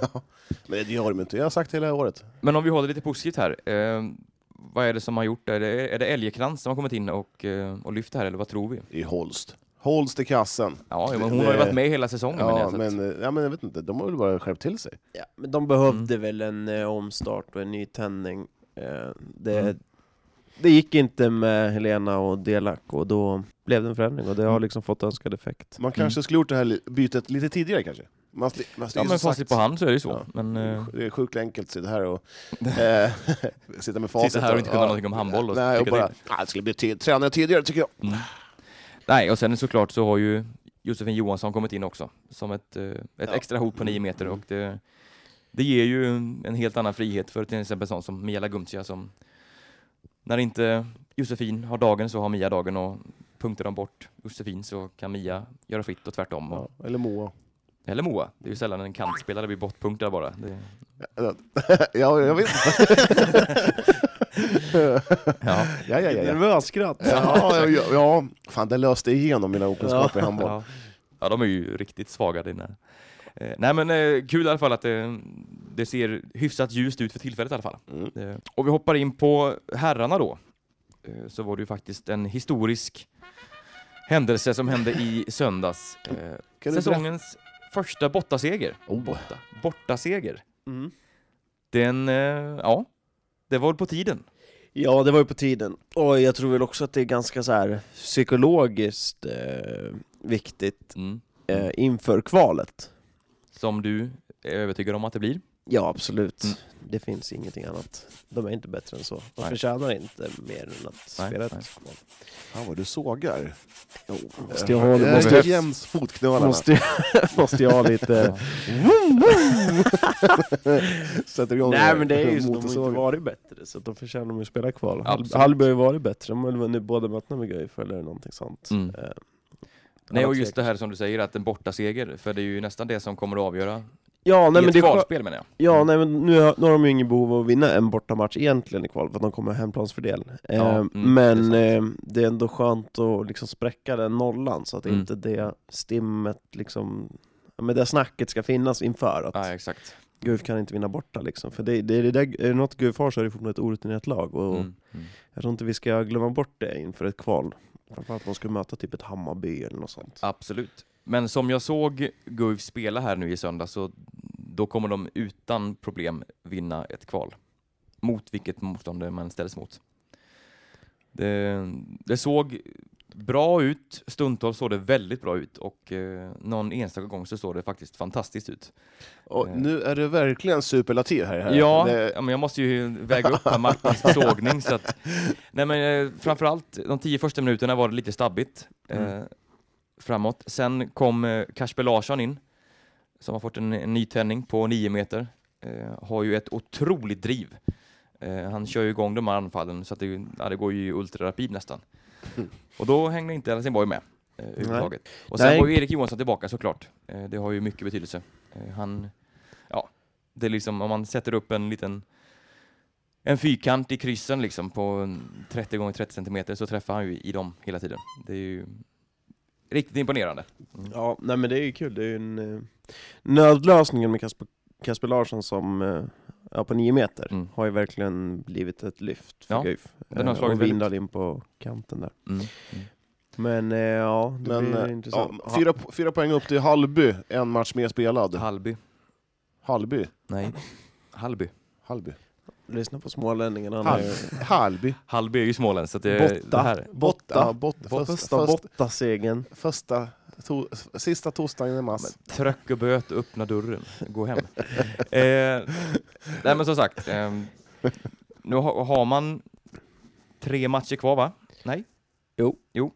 Men det gör de inte, jag har sagt hela året. Men om vi håller lite positivt här. Eh, vad är det som har gjort det? Är det, är det Älgekrans som har kommit in och, eh, och lyft det här eller vad tror vi? I Holst. Holst i kassen. Ja, men hon Det- har ju varit med hela säsongen. menar Ja jag, så att, men, eh, ja, men jag vet inte, de har väl bara skärpt till sig. Ja, men de Mm. behövde väl en eh, omstart och en ny tändning. Eh, det, Mm. det gick inte med Helena och Delak och då blev det en förändring och det Mm. har liksom fått önskad effekt. Man kanske skulle gjort det här li- bytet lite tidigare kanske? Man, sli- man, det är ja, ju men som facit sagt- på hand så är det ju så. Ja. Men, eh, Det är sjukt enkelt att sitta *laughs* här och eh, *laughs* sitta med facit. Sitta här och inte kunna någonting om handboll och Nej, och tycka bara, ah, det skulle bli tid, tränare tidigare tycker jag. mm. nej, och sen såklart så har ju Josefin Johansson kommit in också som ett, eh, ett Ja. Mm. extra hot på nio meter och det, det ger ju en en helt annan frihet för till exempel sån som Mia Laguntja som när inte Josefin har dagen så har Mia dagen och punktar de bort Josefin så kan Mia göra fritt och tvärtom. Och, Ja, eller Moa. Eller Moa, det är ju sällan en kantspelare blir bortpunktad bara. Det, Ja, jag vet inte. ja. Ja, ja, ja. ja. Nervösskratt. *laughs* Ja, ja, ja, ja, fan det löste igenom mina okunskaper i handboll. Ja. ja, de är ju riktigt svaga dina. Eh, nej men eh, kul i alla fall att det, det ser hyfsat ljust ut för tillfället i alla fall. Mm. Eh, och vi hoppar in på herrarna då. Eh, så var det ju faktiskt en historisk händelse som hände i söndags. Eh, Kan du säsongens första bortaseger. Borta. Bortaseger. Mm. Den, eh, ja, det var på tiden. Ja, det var ju på tiden. Och jag tror väl också att det är ganska så här psykologiskt eh, viktigt Mm. eh, inför kvalet. Som du är övertygad om att det blir. Ja, absolut. Mm. Det finns ingenting annat. De är inte bättre än så. De Nej. förtjänar inte mer än att Nej, spela ett nej. kval. Fan vad du sågar. Jo, måste jag ha, Eh, måste, jag- Jäms fotknölarna. *laughs* måste, jag- *laughs* måste jag ha lite... Sätter igång Nej men det är ju så, de har motorsågen. inte varit bättre, så att de förtjänar de att spela kval. Absolut. Hall- Hallby har ju varit bättre, de har väl vunnit båda mötena med Guif eller någonting sånt. Mm. Eh, Nej, och annat just säkert. det här som du säger, att en bortaseger, för det är ju nästan det som kommer att avgöra Ja, nej, i men ett det är skö- kvalspel menar jag. Mm. ja, nej men nu har, nu har de ju ingen behov av att vinna en bortamatch egentligen i kval, för att de kommer ha hemplansfördel. Eh, Ja, mm, men det det är, eh, det är ändå skönt att liksom spräcka den nollan, så att Mm. inte det stimmet liksom ja, men det snacket ska finnas inför att Nej, exakt. Guif kan inte vinna borta liksom. För det, det, är det där, är det något Guif har så är det fortfarande ett orutinerat lag och Mm. Mm. Jag tror inte vi ska glömma bort det inför ett kval. Framförallt att de ska möta typ ett Hammarby eller något sånt. Absolut. Men som jag såg Guif spela här nu i söndag så då kommer de utan problem vinna ett kval. Mot vilket motstånd man ställs mot. Det, det såg bra ut, stundtals såg det väldigt bra ut och eh, någon enstaka gång så såg det faktiskt fantastiskt ut. Och nu är det verkligen superlativ här. här. Eh. Ja, Det, ja, men jag måste ju väga upp här Martins sågning. Så att, nej men, eh, framförallt de tio första minuterna var det lite stabbigt eh, framåt. Sen kom eh, Kasper Larsson in, som har fått en, en nytändning på nio meter. Eh, har ju ett otroligt driv. Eh, han kör ju igång de här anfallen så att det, ja, det går ju ultrarapid nästan. Och då hängde inte Helsingborg med. Eh, överhuvudtaget. och sen Nej. var ju Erik Johansson tillbaka såklart. Eh, det har ju mycket betydelse. Eh, han, ja, det är liksom om man sätter upp en liten en fyrkant i kryssen liksom på en 30 gånger 30 centimeter så träffar han ju i dem hela tiden. Det är ju riktigt imponerande. Ja, nej men det är ju kul. Det är ju en eh, nödlösningen med Kasper, Kasper Larsson som eh, ja, på nio meter Mm. har ju verkligen blivit ett lyft för Ja, Guif. den har Eh, slagit och Vindal in på kanten där. Mm. Men eh, ja, det men, blir eh, intressant. ja, fyra, po- fyra poäng upp till Hallby, en match mer spelad. Hallby. Hallby? Nej. Hallby. Hallby? Lyssna på smålänningarna. Han Hall- är ju- Hallby? Hallby är ju småländskt så att det, det Botta. här. Ja, Botta. bot, först, Första först, Botta-segern. första, to, sista torsdagen i mars. Tröck och böt, öppna dörren, gå hem. eh, nej men som sagt, eh, nu ha, har man tre matcher kvar va? Nej? Jo. Jo.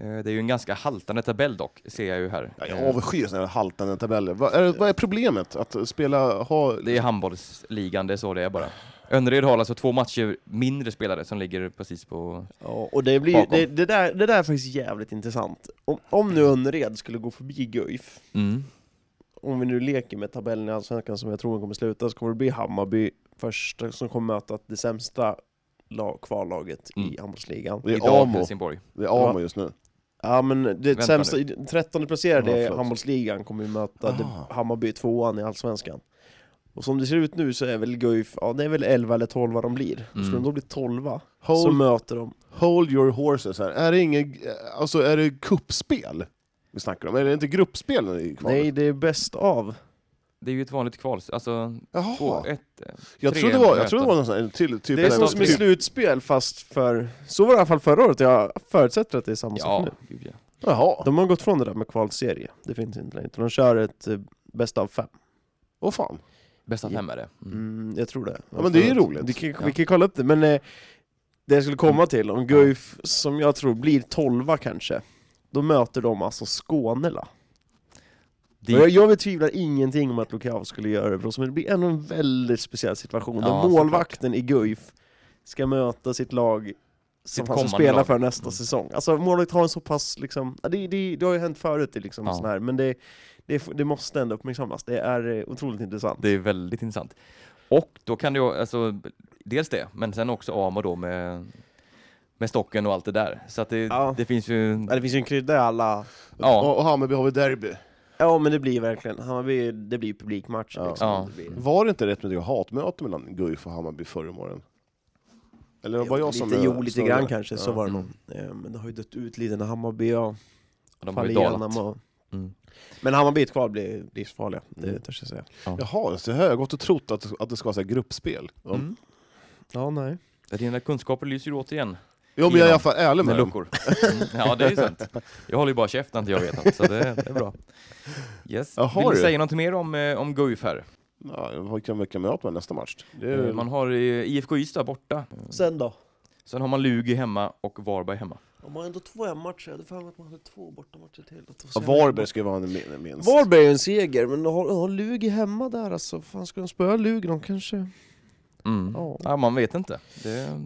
Eh, det är ju en ganska haltande tabell dock, ser jag ju här. Ja, Eh, Jag avskyr sådana här haltande tabeller. Vad är, vad är problemet? Att spela... Ha, Det är handbollsligan, det är så det är bara. Önnered har alltså två matcher mindre spelare som ligger precis på... Ja, och det, blir, ju- Bakom. det, det, där, det där är faktiskt jävligt intressant. Om, om nu Önnered skulle gå förbi Guif Mm. om vi nu leker med tabellen i Allsvenskan som jag tror kommer sluta, så kommer det bli Hammarby först som kommer möta det sämsta lag, kvallaget Mm. i handbollsligan. det är Idag Amo. Helsingborg. Det är Amo just nu. Ja men det Vänta sämsta, trettonde placerade Ja, i förlåt. handbollsligan kommer ju möta det, Ah. Hammarby tvåan i Allsvenskan. Och som det ser ut nu så är väl Guif, ja det är väl 11 eller 12 de blir. Mm. Skulle de då bli 12 så Hold, möter de... hold your horses här. Är det, ingen, alltså, är det kuppspel vi snackar om? Är det inte gruppspel i kvalet? Nej det är bäst av. Det är ju ett vanligt kval, alltså två, Jaha. ett... eh, Jag tre trodde det var, jag möten. trodde det var någon sån här, till, typ Det är en- som, som i typ- slutspel fast för... Så var det i alla fall förra året, jag förutsätter att det är samma sak nu. Ja, gud ja. Jaha. De har gått från det där med kvalserie, det finns inte längre. De kör ett eh, bästa av fem. Åh fan. Bästa fem är det. Mm. Mm, jag tror det. Ja, men det är ju roligt. Vi kan, Ja. Mm. vi kan kolla upp det, men eh, det jag skulle komma till, om Guif, som jag tror blir tolva kanske, då möter de alltså Skånela. dit. Jag, jag betvivlar ingenting om att Lukao skulle göra det bra, men det blir ändå en väldigt speciell situation Ja, där målvakten i Guif ska möta sitt lag som Sitt han ska kommande spela lag. Mm. för nästa säsong. Alltså målvakt har en så pass, liksom, ja, det, det, det har ju hänt förut, det liksom, Ja. sån här, men det, det, det måste ändå uppmärksammas. Det är eh, otroligt intressant. Det är väldigt intressant. Och då kan det ju, alltså, dels det, men sen också Amo då med, med stocken och allt det där. Så att det, Ja. det finns ju, Ja, det finns ju en krydda i alla... ja, Och, och Hammarby har vi derby. Ja men det blir verkligen, Hammarby, det blir publikmatch Ja. liksom. Ja. Det blir... Var det inte rätt mycket hatmöte mellan Guif och Hammarby förr om åren? Eller var det jag som... lite, jo, lite snurrade? grann kanske, så Ja. var det Mm. nog. Eh, Men det har ju dött ut lite när Hammarby och de har ju dalat. Fallenham och... Mm. Men Hammarby är ett kvar blir livsfarliga, Mm. det törs jag säga. Jaha, så här, jag har gått och trott att, att det ska vara så här gruppspel. Ja, Mm. Ja, nej. Dina kunskaper lyser ju återigen jo men jag är i alla fall ärlig med med dem. luckor. Mm, ja, det är ju sant. Jag håller ju bara käften till jag vet allt, så det, det är bra. Yes. Jaha, Vill ni du. säga något mer om, eh, om Guif här? Ja, vad kan vilka möta med nästa match? Det är, Eh, Man har eh, IFK Ystad borta, Mm. Sen då? sen har man Lugi hemma och Varberg hemma. Om man ändå två hemmamatcher, jag hade för mig att man hade två bortamatcher till. ja, Varberg ska ju vara en min- minst. Varberg är en seger, men har, har Lugi hemma där alltså, fan ska de spöa Lugi? De kanske... Mm. Ja. Ja, man vet inte. Det,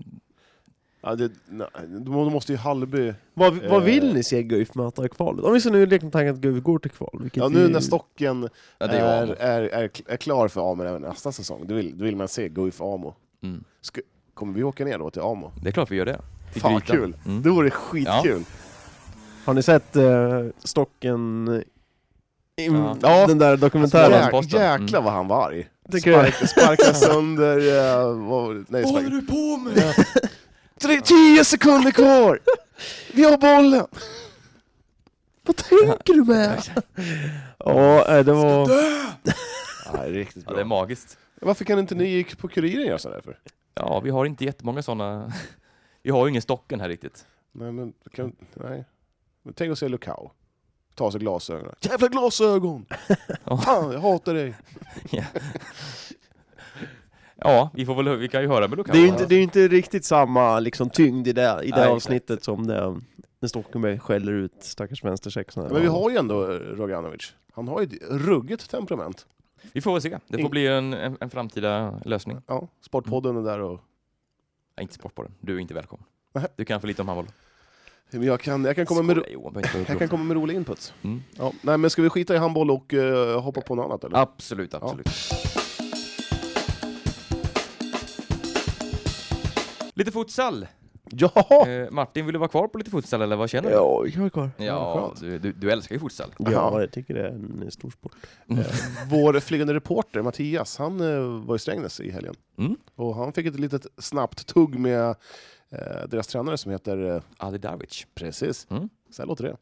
Ja, det, nej, då måste ju Hallby... Vad, vad Eh. vill ni se Guif möta i kvalet? Om vi så nu leker med tanken att Guif går till kval, vilket Ja, nu är- när Stocken ja, det är, är är, ju Amo. är, är klar för Amo även nästa säsong, då vill, då vill man se Guif Amo. Mm. Ska, kommer vi åka ner då till Amo? Det är klart vi gör det. I Fan vad Grytan. kul! Mm. Det vore skitkul! Har ni sett eh, Stocken... Ja. i- Mm, Ja. Den där Ja. dokumentären? Morgonposten. jäklar vad han var arg! Tycker du? Sparka, sparka sönder... eh, vad var det? nej, Vad håller sparka. du på med? *laughs* Tre, tio sekunder kvar! Vi har bollen! *laughs* Vad tänker du med? *laughs* Ja, eh, det var... Nej, riktigt Ja, det är bra. magiskt. Varför kan inte ni på Kuriren göra sådär för? Ja, vi har inte jättemånga sådana. *laughs* Vi har ju ingen stocken här riktigt. *laughs* Nej, men, kan, nej. men tänk att se Lukao. Ta sig glasögonen. Jävla glasögon! Ja. Fan, jag hatar dig! Ja, vi, får väl, vi kan ju höra med Lukaku. Det är ju inte, det är ju inte riktigt samma liksom, tyngd i det, i det Nej, avsnittet som det, när Stockenberg skäller ut stackars vänstersexan. Men vi har ju ändå eh, Roganovic. Han har ju ett ruggigt temperament. Vi får väl se. Det får bli en, en, en framtida lösning. Ja, Sportpodden är där och... Nej, inte Sportpodden. Du är inte välkommen. Nähä. Du kan för lite om handboll. Men jag kan, jag kan komma med... ro- Skoja, Johan, behöver inte Jag vara kan upprörd. komma med roliga inputs. Mm. Ja, nej men ska vi skita i handboll och eh, hoppa på något annat eller? Absolut, absolut. Lite futsal. Ja! Eh, Martin, vill du vara kvar på lite futsal eller vad känner du? Ja, vi kan vara kvar. Ja, skönt. du, du, du älskar ju futsal. Ja, jag tycker det är en stor sport. Vår flygande reporter Mattias, han eh, var i Strängnäs i helgen. Mm. Och han fick ett litet snabbt tugg med eh, deras tränare som heter... Eh, Ali Davic. precis. Mm. Så här låter det.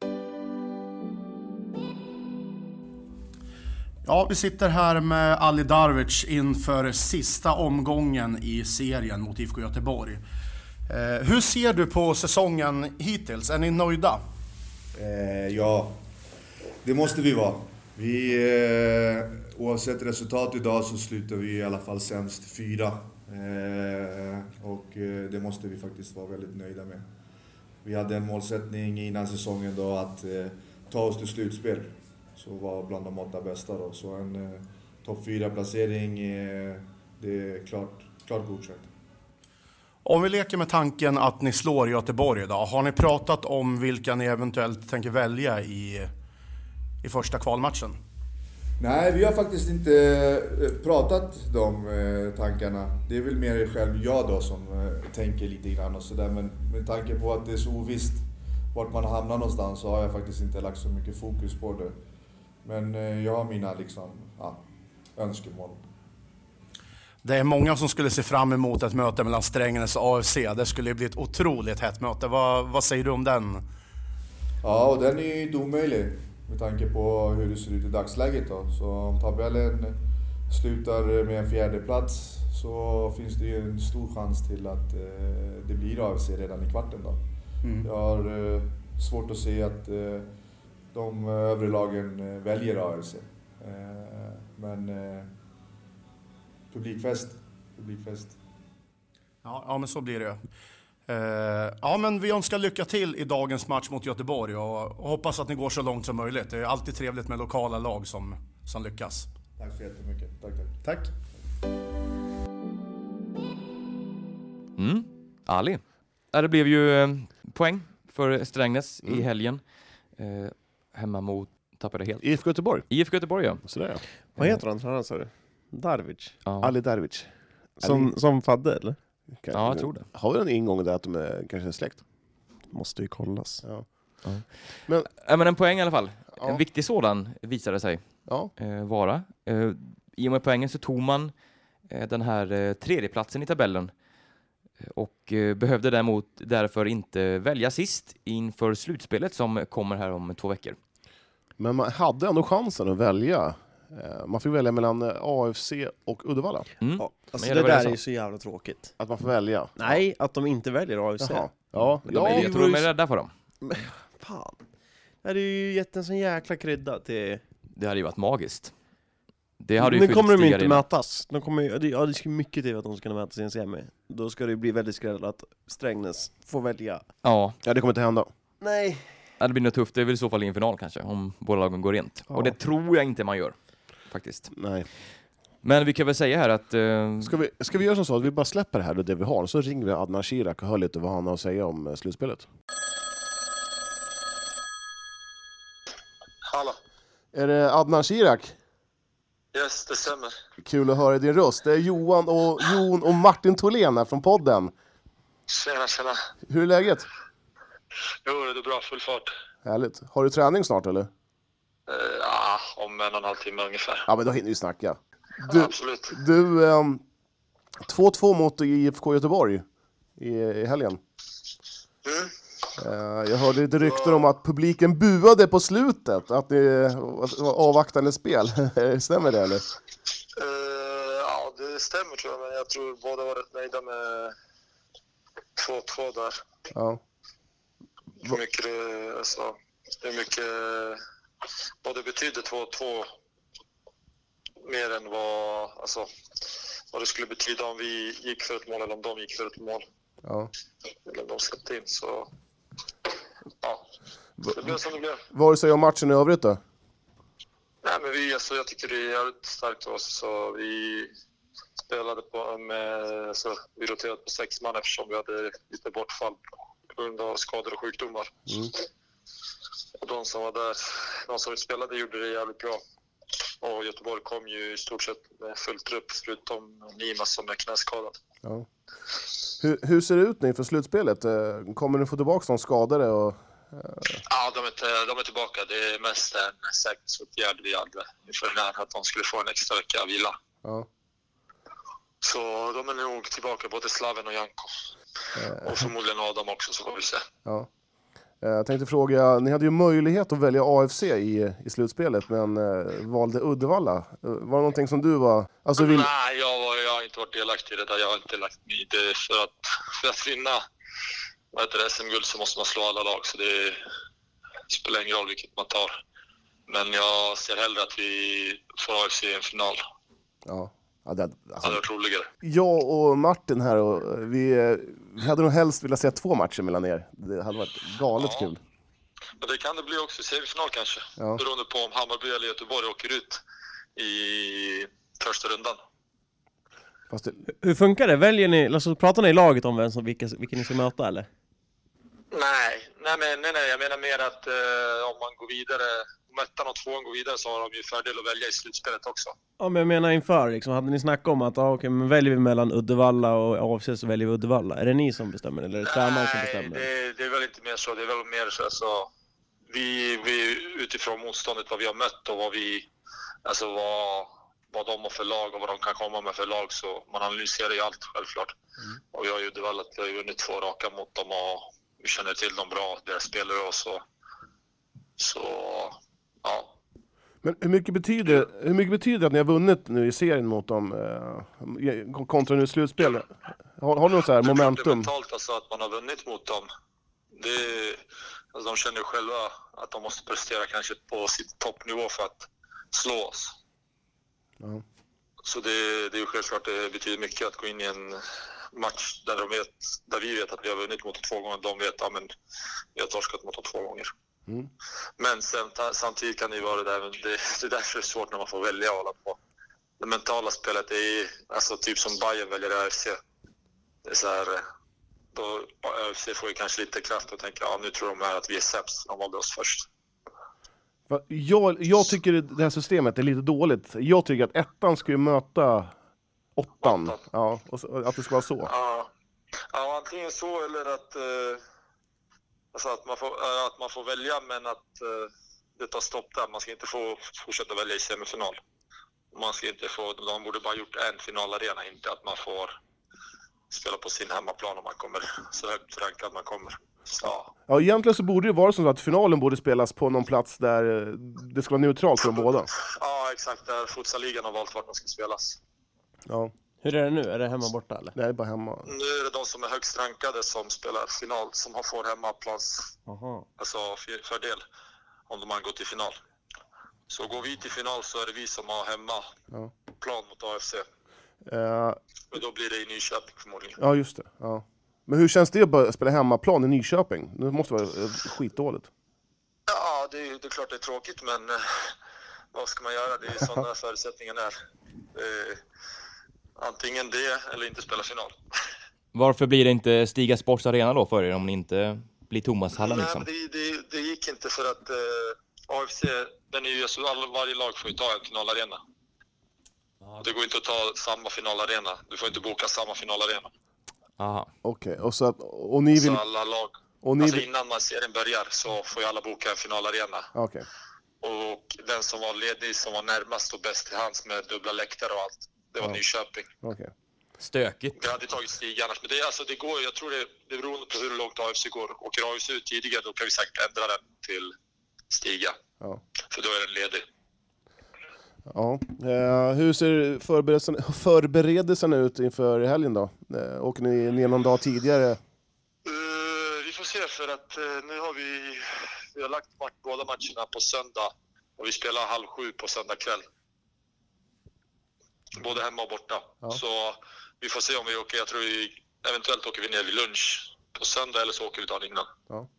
Ja, vi sitter här med Ali Darvic inför sista omgången i serien mot IFK Göteborg. Eh, hur ser du på säsongen hittills? Är ni nöjda? Eh, ja, det måste vi vara. Vi, eh, oavsett resultat idag så slutar vi i alla fall sämst fyra. Eh, och eh, det måste vi faktiskt vara väldigt nöjda med. Vi hade en målsättning innan säsongen då att eh, ta oss till slutspel. Så vara bland de åtta bästa då. Så en eh, topp fyra placering, eh, det är klart, klart godkänt. Om vi leker med tanken att ni slår Göteborg idag, har ni pratat om vilka ni eventuellt tänker välja i, i första kvalmatchen? Nej, vi har faktiskt inte eh, pratat de eh, tankarna. Det är väl mer själv jag då som eh, tänker lite grann och sådär. Men med tanke på att det är så ovisst vart man hamnar någonstans så har jag faktiskt inte lagt så mycket fokus på det. Men eh, jag har mina liksom, ja, önskemål. Det är många som skulle se fram emot ett möte mellan Strängnäs och AFC. Det skulle bli ett otroligt hett möte. Vad, vad säger du om den? Ja, och den är ju inte omöjlig med tanke på hur det ser ut i dagsläget då. Så om tabellen slutar med en fjärde plats så finns det ju en stor chans till att eh, det blir AFC redan i kvarten då. Jag har eh, svårt att se att eh, de övre lagen eh, väljer AFC. Eh, men eh, publikfest, publikfest. Ja, ja men så blir det ju. Eh, ja, men vi önskar lycka till i dagens match mot Göteborg och, och hoppas att ni går så långt som möjligt. Det är alltid trevligt med lokala lag som, som lyckas. Tack så jättemycket. Tack, tack. Tack. Mm. Ali. Ja, det blev ju eh, poäng för Strängnäs i helgen. Eh, hemma mot, tappade helt, IFK Göteborg. IFK Göteborg ja. Sådär ja. Vad heter han tränaren sa du? Darvic? Ja, Ali Darvic. Som, som Fadde eller? Kanske. ja jag tror det. Har vi en ingång där att de är kanske släkt? Måste ju kollas. Ja. Ja, men en poäng i alla fall. Ja. En viktig sådan visade sig ja. eh, vara. Eh, I och med poängen så tog man eh, den här eh, tredjeplatsen i tabellen eh, och eh, behövde däremot därför inte välja sist inför slutspelet som kommer här om två veckor. Men man hade ändå chansen att välja. Eh, Man fick välja mellan eh, AFC och Uddevalla. Mm. Ja, alltså Men det, det var det där så. är ju så jävla tråkigt. Att man får välja. Nej, att de inte väljer AFC. Jaha. Ja, Men de ja, är, jag tror de är det rädda för dem. Fan. Det hade ju gett en sån jäkla krydda till... Det hade ju varit magiskt. Det hade ju nu fyllt kommer de ju stigar inte in. mötas. De kommer, ju- ja, det, ja, det ska mycket till att de ska kunna mötas i en semi. Då ska det ju bli väldigt skräll att Strängnäs får välja. Ja, ja, det kommer inte hända. Nej. det blir nog tufft. Det är väl i så fall i en final kanske, om båda lagen går rent. Ja. Och det tror jag inte man gör, faktiskt. Nej. Men vi kan väl säga här att... Eh, Ska vi, ska vi göra som så att vi bara släpper det här och det vi har, och så ringer vi Adnan Shirak och hör lite vad han har att säga om eh, slutspelet? Hallå. Är det Adnan Shirak? Yes, det stämmer. Kul att höra din röst. Det är Johan och, Jon och Martin Tholén här från podden. Tjena, tjena. Hur är läget? Jo, det är bra. Full fart. Härligt. Har du träning snart eller? Eh, ja, om en och en halv timme ungefär. Ja, men då hinner vi snacka. Du, Absolut. du ehm, 2-2 mot IFK Göteborg i, i helgen. Mm. Eh, jag hörde lite rykten om att publiken buade på slutet, att det var avvaktande spel. *laughs* Stämmer det eller? Eh, ja, det stämmer tror jag, men jag tror båda var rätt nöjda med 2-2 där. Ja. Hur mycket, det, alltså, hur mycket vad det betyder 2-2 mer än vad, alltså, vad det skulle betyda om vi gick för ett mål eller om de gick för ett mål. ja. Eller om de släppte in, så... Ja, det blev som det blev. Vad har du att säga om matchen i övrigt då? Nej, men vi, alltså, jag tycker det är jävligt starkt av oss. Så vi spelade på med, alltså, vi roterade på sex man eftersom vi hade lite bortfall på grund av skador och sjukdomar. Och de som var där, de som spelade gjorde det jävligt bra. Och Göteborg kom ju i stort sett med full trupp förutom Nima som är knäskadad. Ja. Hur, hur ser det ut nu inför slutspelet? Eh, Kommer du få tillbaka någon skadade? Och... Ja, de är, till, de är tillbaka. Det är mest en säkerhetsåtgärd vi hade inför den här, att de skulle få en extra vecka vila. Ja. Så de är nog tillbaka, både Slaven och Janko. Eh. Och förmodligen Adam också, så får vi se. Ja. Eh, Jag tänkte fråga, ni hade ju möjlighet att välja AFC i, i slutspelet, men eh, valde Uddevalla. Eh, var det någonting som du var... Alltså vill... Nej, jag, var, jag har inte varit delaktig i det där. Jag har inte lagt mig i det. För att, för att vinna vad heter det, SM-guld så måste man slå alla lag, så det spelar ingen roll vilket man tar. Men jag ser hellre att vi får AFC i en final. Ja. Ja, det, Det alltså, hade varit roligare. jag och Martin här, och eh, vi, eh, vi hade nog helst velat se två matcher mellan er. Det hade varit galet Ja. kul. Men det kan det bli också i semifinal kanske. Ja. Beroende på om Hammarby eller Göteborg åker ut i första rundan. Fast det, Hur funkar det? Väljer ni, alltså, pratar ni i laget om vem som, vilka, vilka ni ska möta eller? Nej, nej, men, nej, nej. jag menar mer att eh, om man går vidare, om ettan och tvåan går vidare så har de ju fördel att välja i slutspelet också. Ja men jag menar inför liksom, hade ni snackat om att ah, okej, men väljer vi mellan Uddevalla och AFC så väljer vi Uddevalla? Är det ni som bestämmer eller är det tränaren som nej, bestämmer? det, det är väl inte mer så. Det är väl mer så alltså, vi, vi utifrån motståndet, vad vi har mött och vad vi, alltså vad, vad de har för lag och vad de kan komma med för lag. Så man analyserar ju allt självklart. Mm. Och jag och Uddevalla, vi har ju vunnit två raka mot dem och vi känner till dem bra, deras spelare och så. Så, ja. men hur mycket, betyder, hur mycket betyder det att ni har vunnit nu i serien mot dem, eh, kontra nu i slutspelet? Har, har ni något så här Det är momentum? mentalt alltså att man har vunnit mot dem. Det är, alltså de känner ju själva att de måste prestera kanske på sitt toppnivå för att slå oss. Ja. Så det, det är ju självklart det betyder mycket att gå in i en match där, de vet, där vi vet att vi har vunnit mot dem två gånger. De vet att men vi har torskat mot dem två gånger. Mm. Men sen, ta- samtidigt kan det ju vara det där, men det, det är därför det är svårt när man får välja och hålla på. Det mentala spelet det är alltså typ som Bayern väljer AFC. Det är så här, eh, då, AFC får ju kanske lite kraft och tänker ja nu tror de här att vi är sämst, de valde oss först. Va, Jag, jag tycker det här systemet är lite dåligt. Jag tycker att ettan ska ju möta åttan. Ja, och så, att det ska vara så. Ja, ja antingen så eller att, eh, alltså att, man får, eh, att man får välja men att eh, det tar stopp där. Man ska inte få fortsätta välja i semifinal. Man ska inte få, de borde bara gjort en finalarena, inte att man får spela på sin hemmaplan om man kommer så högt rankad man kommer. Så, ja. Ja, egentligen så borde det vara som så att finalen borde spelas på någon plats där eh, det ska vara neutralt för de båda. ja, exakt. Där futsaligan har valt vart de ska spelas. Ja, Hur är det nu? Är det hemma borta eller? det är bara hemma. Nu är det de som är högst rankade som spelar final, som har- får hemmaplans Aha. alltså för- fördel om man går till final. Så går vi till final så är det vi som har hemma Ja. plan mot AFC. Eh, Och då blir det i Nyköping förmodligen. ja, just det. Ja. Men hur känns det att börja spela hemmaplan i Nyköping? Det måste vara eh, skitdåligt. Ja, det är, det är klart det är tråkigt men eh, vad ska man göra? Det är ju sådana förutsättningarna är. Eh, antingen det eller inte spela final. Varför blir det inte Stiga Sports Arena då för er om ni inte blir Thomashallen Nej, liksom? men det, det, det gick inte för att eh, AFC, den är ju, så all, varje lag får ju ta en finalarena. Det går inte att ta samma finalarena. Du får inte boka samma finalarena. Aha. Okej, och, så att- och ni vill... Så alla lag, Och ni alltså vill innan man serien börjar så får ju alla boka en finalarena. Okej. Och den som var ledig, som var närmast och bäst till hands med dubbla läktare och allt, det var Nyköping. okej. Stökigt. Det hade tagit Stig annars, men det, är alltså, det går Jag tror det, det beror på hur långt AFC går. Åker AFC ut tidigare då kan vi säkert ändra den till Stiga. Ja. För då är den ledig. Ja. Eh, hur ser förberedelsen, förberedelserna ut inför helgen då? Eh, åker ni ner någon dag tidigare? Eh, vi får se för att eh, nu har vi, vi har lagt match, båda matcherna på söndag och vi spelar halv sju på söndag kväll. Både hemma och borta. Ja. Så vi får se om vi åker. Jag tror vi, eventuellt åker vi ner vid lunch på söndag eller så åker vi dagen innan.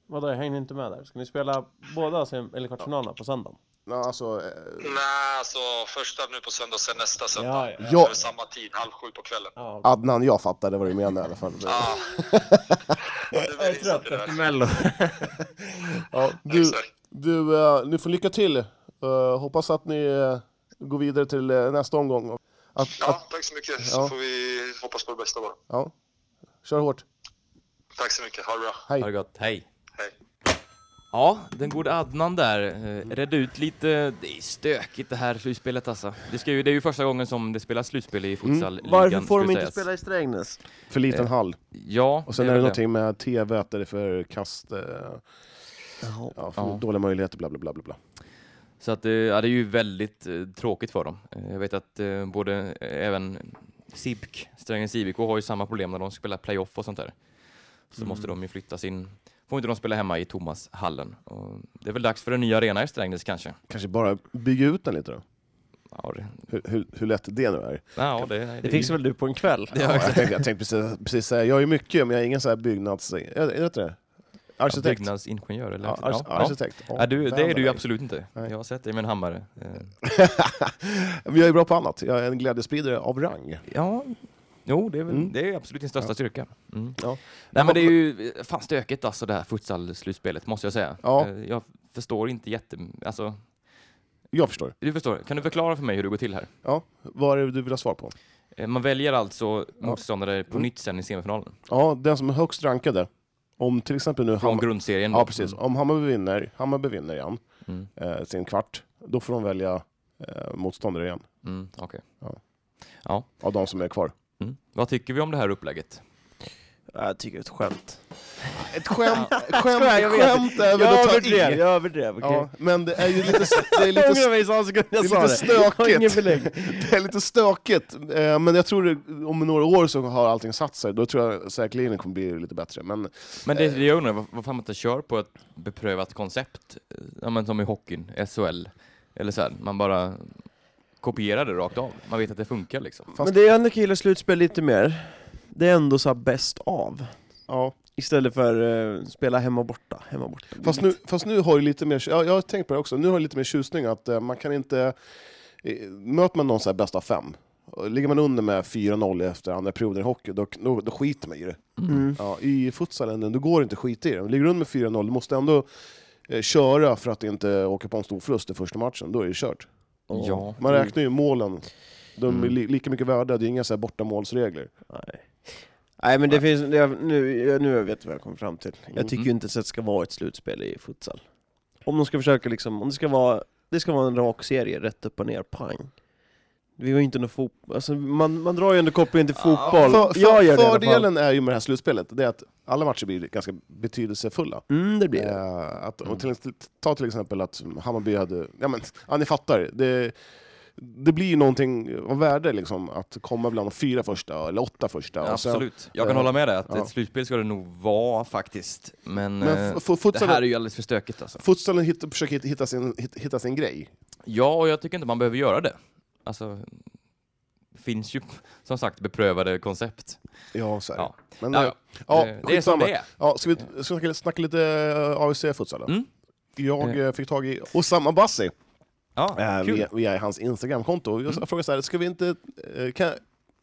Vadå, jag hängde inte med där. Ska ni spela båda sem- eller kvartsfinalerna på söndagen? Ja, alltså, eh, Nej, alltså första nu på söndag och sen nästa söndag. Ja, Ja, ja. Ja. Samma tid, halv sju på kvällen. Ja. Ja. Adnan, jag fattade vad du menade i alla fall. Det blir insatt i det där. Mello. Ja, du, Exakt. du, eh, ni får lycka till. Eh, hoppas att ni eh, går vidare till eh, nästa omgång. Och Att, att, Ja, tack så mycket. Så Ja. får vi hoppas på det bästa bara. ja. Kör hårt. Tack så mycket. Ha det bra. Ha det gott. Hej. Hej. Ja, den gode Adnan där eh, redde ut lite. Det är stökigt det här slutspelet alltså. Det, ska ju, det är ju första gången som det spelas slutspel i futsalligan. Varför får de skulle inte sägas. spela i Strängnäs? För liten hall. Ja, Och Eh, sen det är det väl någonting med tv, att det är för kast. Eh, ja, för Ja. Dåliga möjligheter, bla bla bla. bla, bla. Så att, eh, ja, det är ju väldigt eh, tråkigt för dem. Eh, Jag vet att eh, både eh, även SIBK, Strängnäs IBK, har ju samma problem när de spelar playoff och sånt där. Så måste de ju flytta sin... Får inte de spela hemma i Thomashallen. Och det är väl dags för en ny arena i Strängnäs kanske? Kanske bara bygga ut den lite då. Ja, det, Hur, hur, hur lätt det nu är. ja, det, det, Det fixar väl du på en kväll? Ja, jag tänkte, jag tänkte precis, precis säga, jag är mycket, men jag är ingen så här byggnads... Är det inte det? Arkitekt. Byggnadsingenjör eller? Ja, arkitekt. ar- Ja, ja. arkitekt. Ja, Ja, du, det är vänder du ju dig. absolut inte. Jag har sett dig med en hammare. Eh, Men jag är bra på annat. Jag är en glädjespridare av rang. Ja, jo, det är, väl, det är absolut din största styrka. Mm. Mm. Ja. Nej, men det är ju eh, fan stökigt alltså det här futsal-slutspelet, måste jag säga. Ja. Eh, Jag förstår inte jätte... Alltså, Jag förstår. du förstår. Kan du förklara för mig hur det går till här? Ja, vad är det du vill ha svar på? Eh, Man väljer alltså motståndare Mm. på nytt sen i semifinalen. Ja, den som är högst rankade. Om till exempel nu... Från Hammar- grundserien. ja, då. precis. Mm. Om Hammarby vinner, Hammarby vinner igen, Mm. eh, sin kvart, då får de välja eh, motståndare igen, Mm, okej. av de som är kvar. mm. Vad tycker vi om det här upplägget? Jag tycker det är ett skämt. Ett skämt, skämt, Jag vet. skämt är väl Jag att ta överdrev, i. jag överdrev. okej. Ja, men det är ju lite, det är *laughs* Jag lite ångrar mig i samma sekund jag det är sa lite det. Jag har stökigt. ingen belägg. *laughs* Det är lite stökigt, eh, men jag tror det, om några år så har allting satt sig. Då tror jag säkerligen det kommer bli lite bättre. Men Men det, Eh. det jag undrar, var- varför man inte kör på ett beprövat koncept, eh, ja, men som i hockeyn, SHL, eller så här, man bara kopierar det rakt av. Man vet att det funkar liksom. Fast- Men det är ändå kul att slutspel lite mer. det är ändå så här bäst av. Ja. Istället för eh, spela hemma och borta, hemma och borta. Fast, nu, fast nu har det lite mer, ja, jag har tänkt på det också, nu har det lite mer tjusning att eh, man kan inte, eh, möter man någon så här bäst av fem, och ligger man under med 4-0 efter andra perioden i hockey, då, då, då skiter man i det. Mm. Ja, I futsalen, då går det inte att skita i det. Ligger du under med 4-0, du måste ändå eh, köra för att inte åka på en stor förlust i första matchen, då är det kört. Ja. Man räknar ju målen, de är Mm. li, lika mycket värda, det är inga så här bortamålsregler. Nej. Nej Mm. men det finns, det, nu, jag- nu vet jag vad jag kommer fram till. Jag tycker Mhm. ju inte så att det ska vara ett slutspel i futsal. Om de ska försöka liksom, om det ska vara, det ska vara en rak serie, rätt upp och ner, pang. Vi har ju inte någon fotboll, alltså man, man drar ju ändå kopplingen till fotboll. För, för, jag gör det i alla fall. fördelen är ju med det här slutspelet, det är att alla matcher blir ganska betydelsefulla. Mm, det blir det. Eh, att, och Mm. till, till- ta till exempel att Hammarby hade... Ja, men, ja ni fattar. Det, det blir ju någonting av värde liksom, att komma bland de fyra första, eller åtta första. och sen- Absolut. Jag kan eh, hålla med dig att ja. ett slutspel ska det nog vara faktiskt. Men, Men eh, f- f- det här är futsalen, ju alldeles för stökigt alltså. futsalen hitt, försöker hitta- hitta sin, hitta, hitta sin grej. Ja, och jag tycker inte man behöver göra det. Alltså, det finns ju som sagt beprövade koncept. Ja, så är det. Ja. Men, Ja, eh, ja. ja, Det- det är som skitsamma. det är. Ja, ska vi ska vi snacka, snacka lite eh, AFC futsal då? Mm. Jag Eh. eh, fick tag i Osama Bassi Ja, eh, kul. Mm. via, via hans Instagramkonto. Jag frågade så här, ska vi inte... eh, Kan,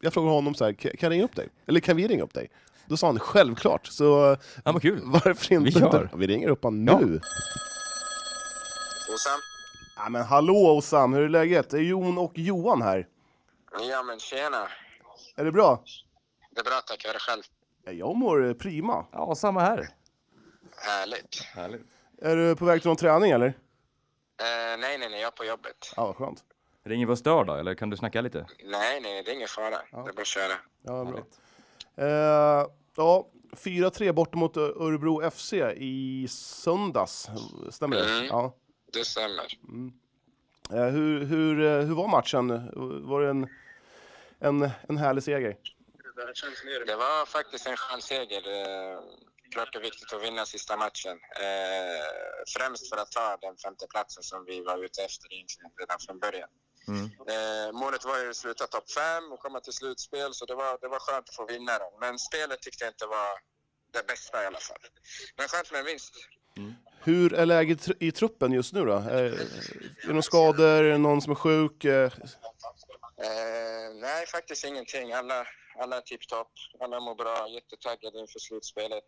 jag frågade honom så här, "Kan- kan jag ringa upp dig? Eller kan vi ringa upp dig? Då sa han självklart, så eh, Ja, men kul. Varför inte? Vi gör. Vi ringer upp honom Ja. nu. Och sen, Ja, men hallå Osam, hur är läget? Det är Jon och Johan här. ja men tjena. Är det bra? Det är bra tack, hur är det själv? Ja, Jag mår eh, prima. Ja, samma här. Härligt. Är du på väg till någon träning eller? Eh, nej, nej, nej, jag är på jobbet. Ja, vad skönt. Ringer vi och stör då, eller kan du snacka lite? Nej, nej, det är ingen fara. Det är bara att köra. Ja, bra. Härligt. Eh, ja, 4-3 bort mot Ö- Örebro FC i söndags. Stämmer det? Mm. Ja. Det stämmer. Eh, hur, hur, eh, hur var matchen? Var det en, en, en härlig seger? Det var faktiskt en chansseger. Eh, Klart det är viktigt att vinna sista matchen. Eh, främst för att ta den femte platsen som vi var ute efter egentligen redan från början. Mm. Eh, målet var ju att sluta topp fem och komma till slutspel så det var, det var skönt att få vinna den. Men spelet tyckte jag inte var det bästa i alla fall. Men skönt med en vinst. Hur är läget tr- i truppen just nu då? Eh, är det några skador? Är det någon som är sjuk? Eh, Eh, nej, faktiskt ingenting. Alla, alla är tipptopp. Alla mår bra. Jättetaggade inför slutspelet.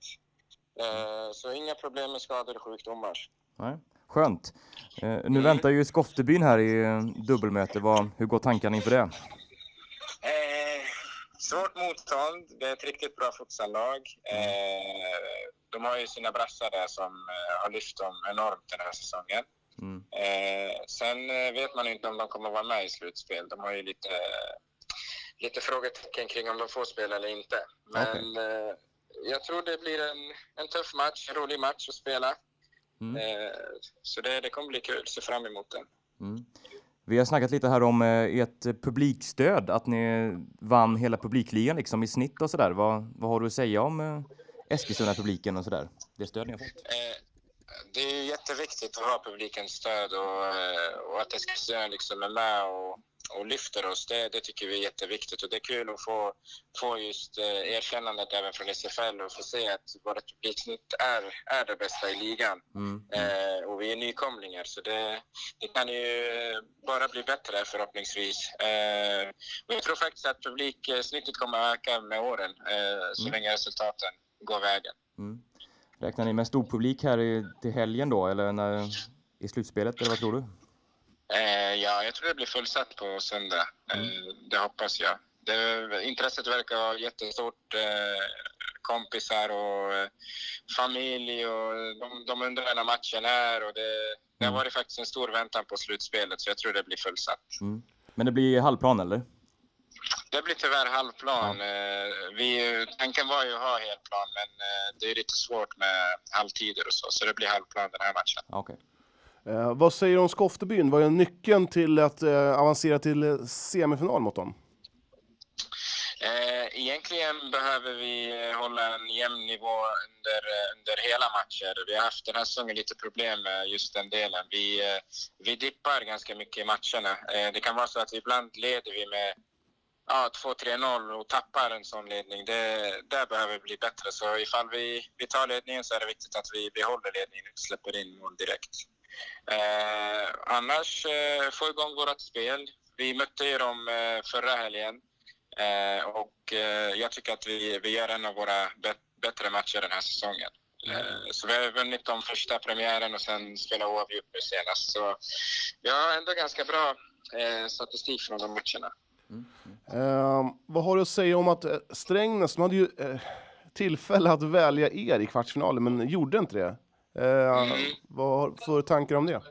Eh, så inga problem med skador och sjukdomar. Nej. Skönt. Eh, nu väntar ju Skoftebyn här i eh, dubbelmöte. Vad, hur går tankarna inför det? Eh, svårt motstånd. Det är ett riktigt bra futsallag. Eh, de har ju sina brassar där som eh, har lyft dem enormt den här säsongen. Mm. Eh, sen eh, vet man ju inte om de kommer vara med i slutspel. De har ju lite, lite frågetecken kring om de får spela eller inte. Men eh, jag tror det blir en, en tuff match, en rolig match att spela. Mm. Eh, så det, det kommer bli kul. Se fram emot den. Mm. Vi har snackat lite här om eh, ert eh, publikstöd, att ni vann hela publikligan liksom i snitt och sådär. Vad, vad har du att säga om eh, Eskilstuna-publiken och sådär? Det stöd ni har fått? Eh, det är ju jätteviktigt att ha publikens stöd och, eh, och att Eskilstuna liksom är med och, och lyfter oss. Det, det tycker vi är jätteviktigt och det är kul att få, få just eh, erkännandet även från SFL och få se att vårt publiksnitt är, är det bästa i ligan. Mm. Eh, och vi är nykomlingar så det, det kan ju eh, bara bli bättre förhoppningsvis. Eh, och jag tror faktiskt att publiksnittet kommer att öka med åren eh, så länge resultaten går vägen. Mm. Räknar ni med stor publik här i, till helgen då, eller när, i slutspelet, eller vad tror du? Eh, ja, jag tror det blir fullsatt på söndag. Eh, det hoppas jag. Det, intresset verkar vara jättestort. Eh, kompisar och eh, familj och de, de undrar när matchen är. Och det, det har varit faktiskt en stor väntan på slutspelet så jag tror det blir fullsatt. Mm. Men det blir halvplan, eller? Det blir tyvärr halvplan. Eh, vi, tanken var ju att ha helplan men eh, det är lite svårt med halvtider och så. Så det blir halvplan den här matchen. Ja, Okej. Eh, vad säger du om Skoftebyn? Vad är nyckeln till att eh, avancera till eh, semifinal mot dem? Eh, egentligen behöver vi eh, hålla en jämn nivå under, eh, under hela matcher. Vi har haft den här säsongen lite problem med just den delen. Vi, eh, vi dippar ganska mycket i matcherna. Eh, det kan vara så att ibland leder vi med ja, 2-3-0 och tappar en sån ledning, det, där behöver vi bli bättre. Så ifall vi, vi tar ledningen så är det viktigt att vi behåller ledningen och inte släpper in mål direkt. Eh, annars, eh, få igång vårt spel. Vi mötte ju dem eh, förra helgen eh, och eh, jag tycker att vi, vi gör en av våra bet- bättre matcher den här säsongen. Eh, Så vi har vunnit de första premiären och sen spelat oavgjort nu senast. Så vi har ändå ganska bra eh, statistik från de matcherna. Ehm, vad har du att säga om att eh, Strängnäs, de hade ju eh, tillfälle att välja er i kvartsfinalen, men gjorde inte det. Ehm, Vad har du för tankar om det?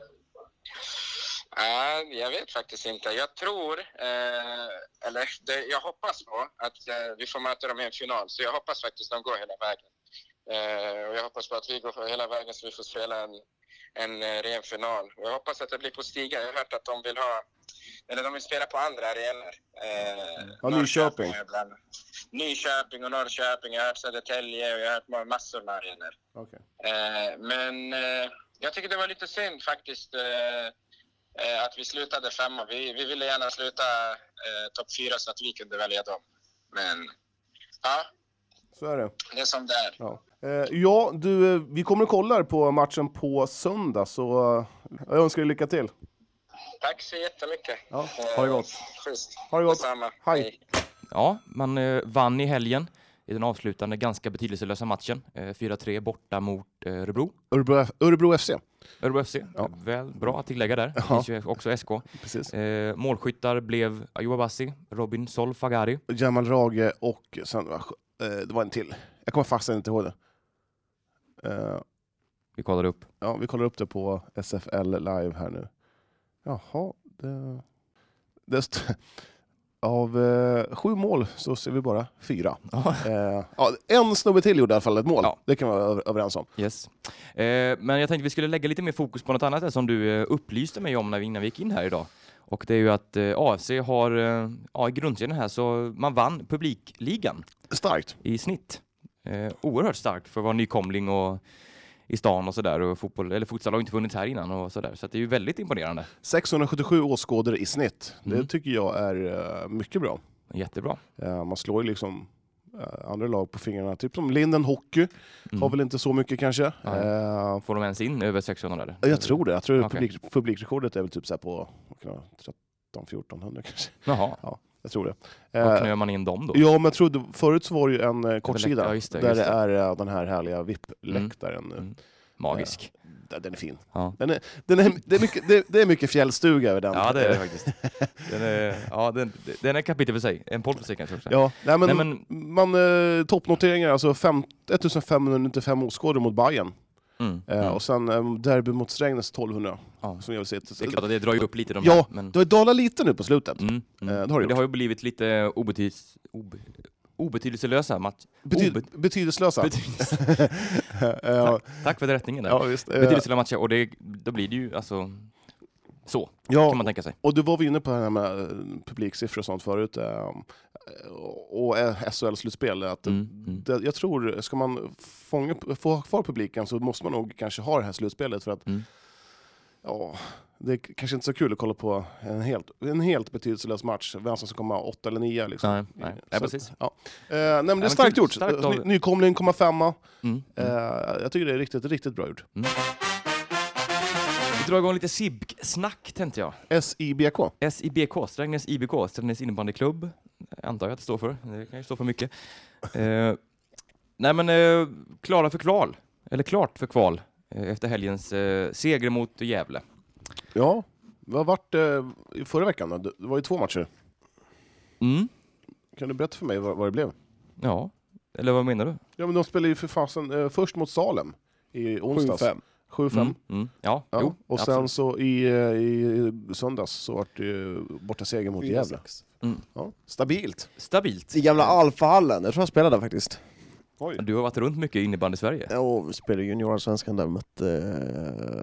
Nej, jag vet faktiskt inte. Jag tror, eh, eller det, jag hoppas på att eh, vi får möta dem i en final. Så jag hoppas faktiskt att de går hela vägen. Eh, och jag hoppas på att vi går hela vägen så vi får spela en, en eh, ren final. Och jag hoppas att det blir på Stiga. Jag har hört att de vill ha, eller de vill spela på andra arenor. Eh, Ja, Nyköping. Ibland. Nyköping och Norrköping. Jag har hört Södertälje och jag har hört ma- massor med arenor. Okej. Eh, men eh, jag tycker det var lite synd faktiskt eh, eh, att vi slutade femma. Vi, vi ville gärna sluta eh, topp fyra så att vi kunde välja dem. Men ja, Så är det. det är som det är. Ja, Eh, ja du, eh, vi kommer och kollar på matchen på söndag, så eh, jag önskar dig lycka till. Tack så jättemycket. Eh, Ja, ha det gott. Schysst. Ha det gott. Detsamma. Hej. Ja, man eh, vann i helgen i den avslutande ganska betydelselösa matchen. Eh, 4-3 borta mot eh, Örebro. Örebro, Örebro FC. Örebro FC, väl bra att tillägga där. Det finns ju också SK. Precis. Eh, målskyttar blev Ayouba Bassi, Robin Sol Fagari. Jamal Rage och sen, eh, det var en till. Jag kommer faktiskt inte ihåg det. Eh, Vi kollade upp. Ja, vi kollar upp det på SFL live här nu. Jaha, det... det st- av eh, sju mål så ser vi bara fyra. Eh, ja, en snubbe till gjorde i alla fall ett mål, Ja. det kan vi vara över- överens om. Yes. Eh, men jag tänkte vi skulle lägga lite mer fokus på något annat här som du eh, upplyste mig om när vi, innan vi gick in här idag. Och det är ju att eh, AFC har, eh, ja i grundserien här, så man vann publikligan Starkt. i snitt. Eh, oerhört starkt för att vara nykomling och i stan och sådär. Och fotboll, eller futsal har ju inte funnits här innan och sådär. Så att det är ju väldigt imponerande. 677 åskådare i snitt, det Mm. tycker jag är eh, mycket bra. Jättebra. Eh, man slår ju liksom eh, andra lag på fingrarna, typ som Linden Hockey, Mm. har väl inte så mycket kanske. Nej. Eh, Får de ens in över 600 där? jag tror det, jag tror Okej. publik, publikrekordet är väl typ så här på 13-1400 kanske. *laughs* Jaha. Jag tror det. Var Eh, knöar man in dem då? ja, men jag trodde, förut så var det ju en eh, kortsida läktaren, ja, just det, där just det, det. är eh, den här härliga VIP-läktaren. nu. Mm. Magisk. Där- Den är fin. Ja. Den är, den är, det, är mycket, det, det är mycket fjällstuga över den. Ja, det är det faktiskt. *laughs* Den är, ja, den, den är ett kapitel för sig. En podd för sig kanske också. Ja, nej, men, Nej, Man, eh, toppnoteringar, alltså fem, 1595 åskådare mot Bayern Mm. eh, Mm. och sen eh, derby mot Strängnäs 1200 Ja. som jag vill se. Så- Det är klart att det drar ju upp lite de Ja, här, men... Det har dalat lite nu på slutet. Mm, mm. Eh, det har det Men gjort. ju blivit lite obetydels, ob, obetydelselösa *laughs* match. Bety, obet- betydelslösa. betydelse- Eh, Oh, Tack för rättningen där. ja, visst, eh, Betydelselösa matcher och det, då blir det ju alltså så, ja, kan man tänka sig. Och du var vi inne på det här med eh, publiksiffror och sånt förut, eh, och eh, SHL-slutspel. Att Mm, mm. det, jag tror, ska man fånga, få ha kvar publiken så måste man nog kanske ha det här slutspelet för att Mm. ja, det är k- kanske inte så kul att kolla på en helt, en helt betydelselös match, vem som ska komma åtta eller nia. Liksom. Nej, nej. Så nej att- precis. Ja. Eh, nej, men det är men starkt kul. gjort. Starkt av- Ny, nykomling, komma femma. Mm. Eh, jag tycker det är riktigt, riktigt bra gjort. Vi drar igång lite SIBK-snack tänkte jag. SIBK. SIBK, Strängnäs IBK, Strängnäs innebandyklubb, antar jag att det står för. Det kan ju stå för mycket. Eh, nej men, eh, klara för kval, eller klart för kval, eh, efter helgens eh, seger mot Gävle. Ja, vad vart det i förra veckan? Då? Det var ju två matcher. Mm, Kan du berätta för mig vad, vad det blev? ja. Eller vad menar du? Ja men de spelade ju för fasen eh, först mot Salem i onsdags. 7-5. 7-5. Mm, mm, ja, Ja. jo. och sen absolut. så i, eh, i söndags så vart det ju borta seger mot Gävle. Ja. Stabilt. Stabilt. I gamla Alfahallen, jag tror jag spelade där faktiskt. Du har varit runt mycket i innebandy-Sverige. Jag spelade juniorsvenskan där, vi mötte...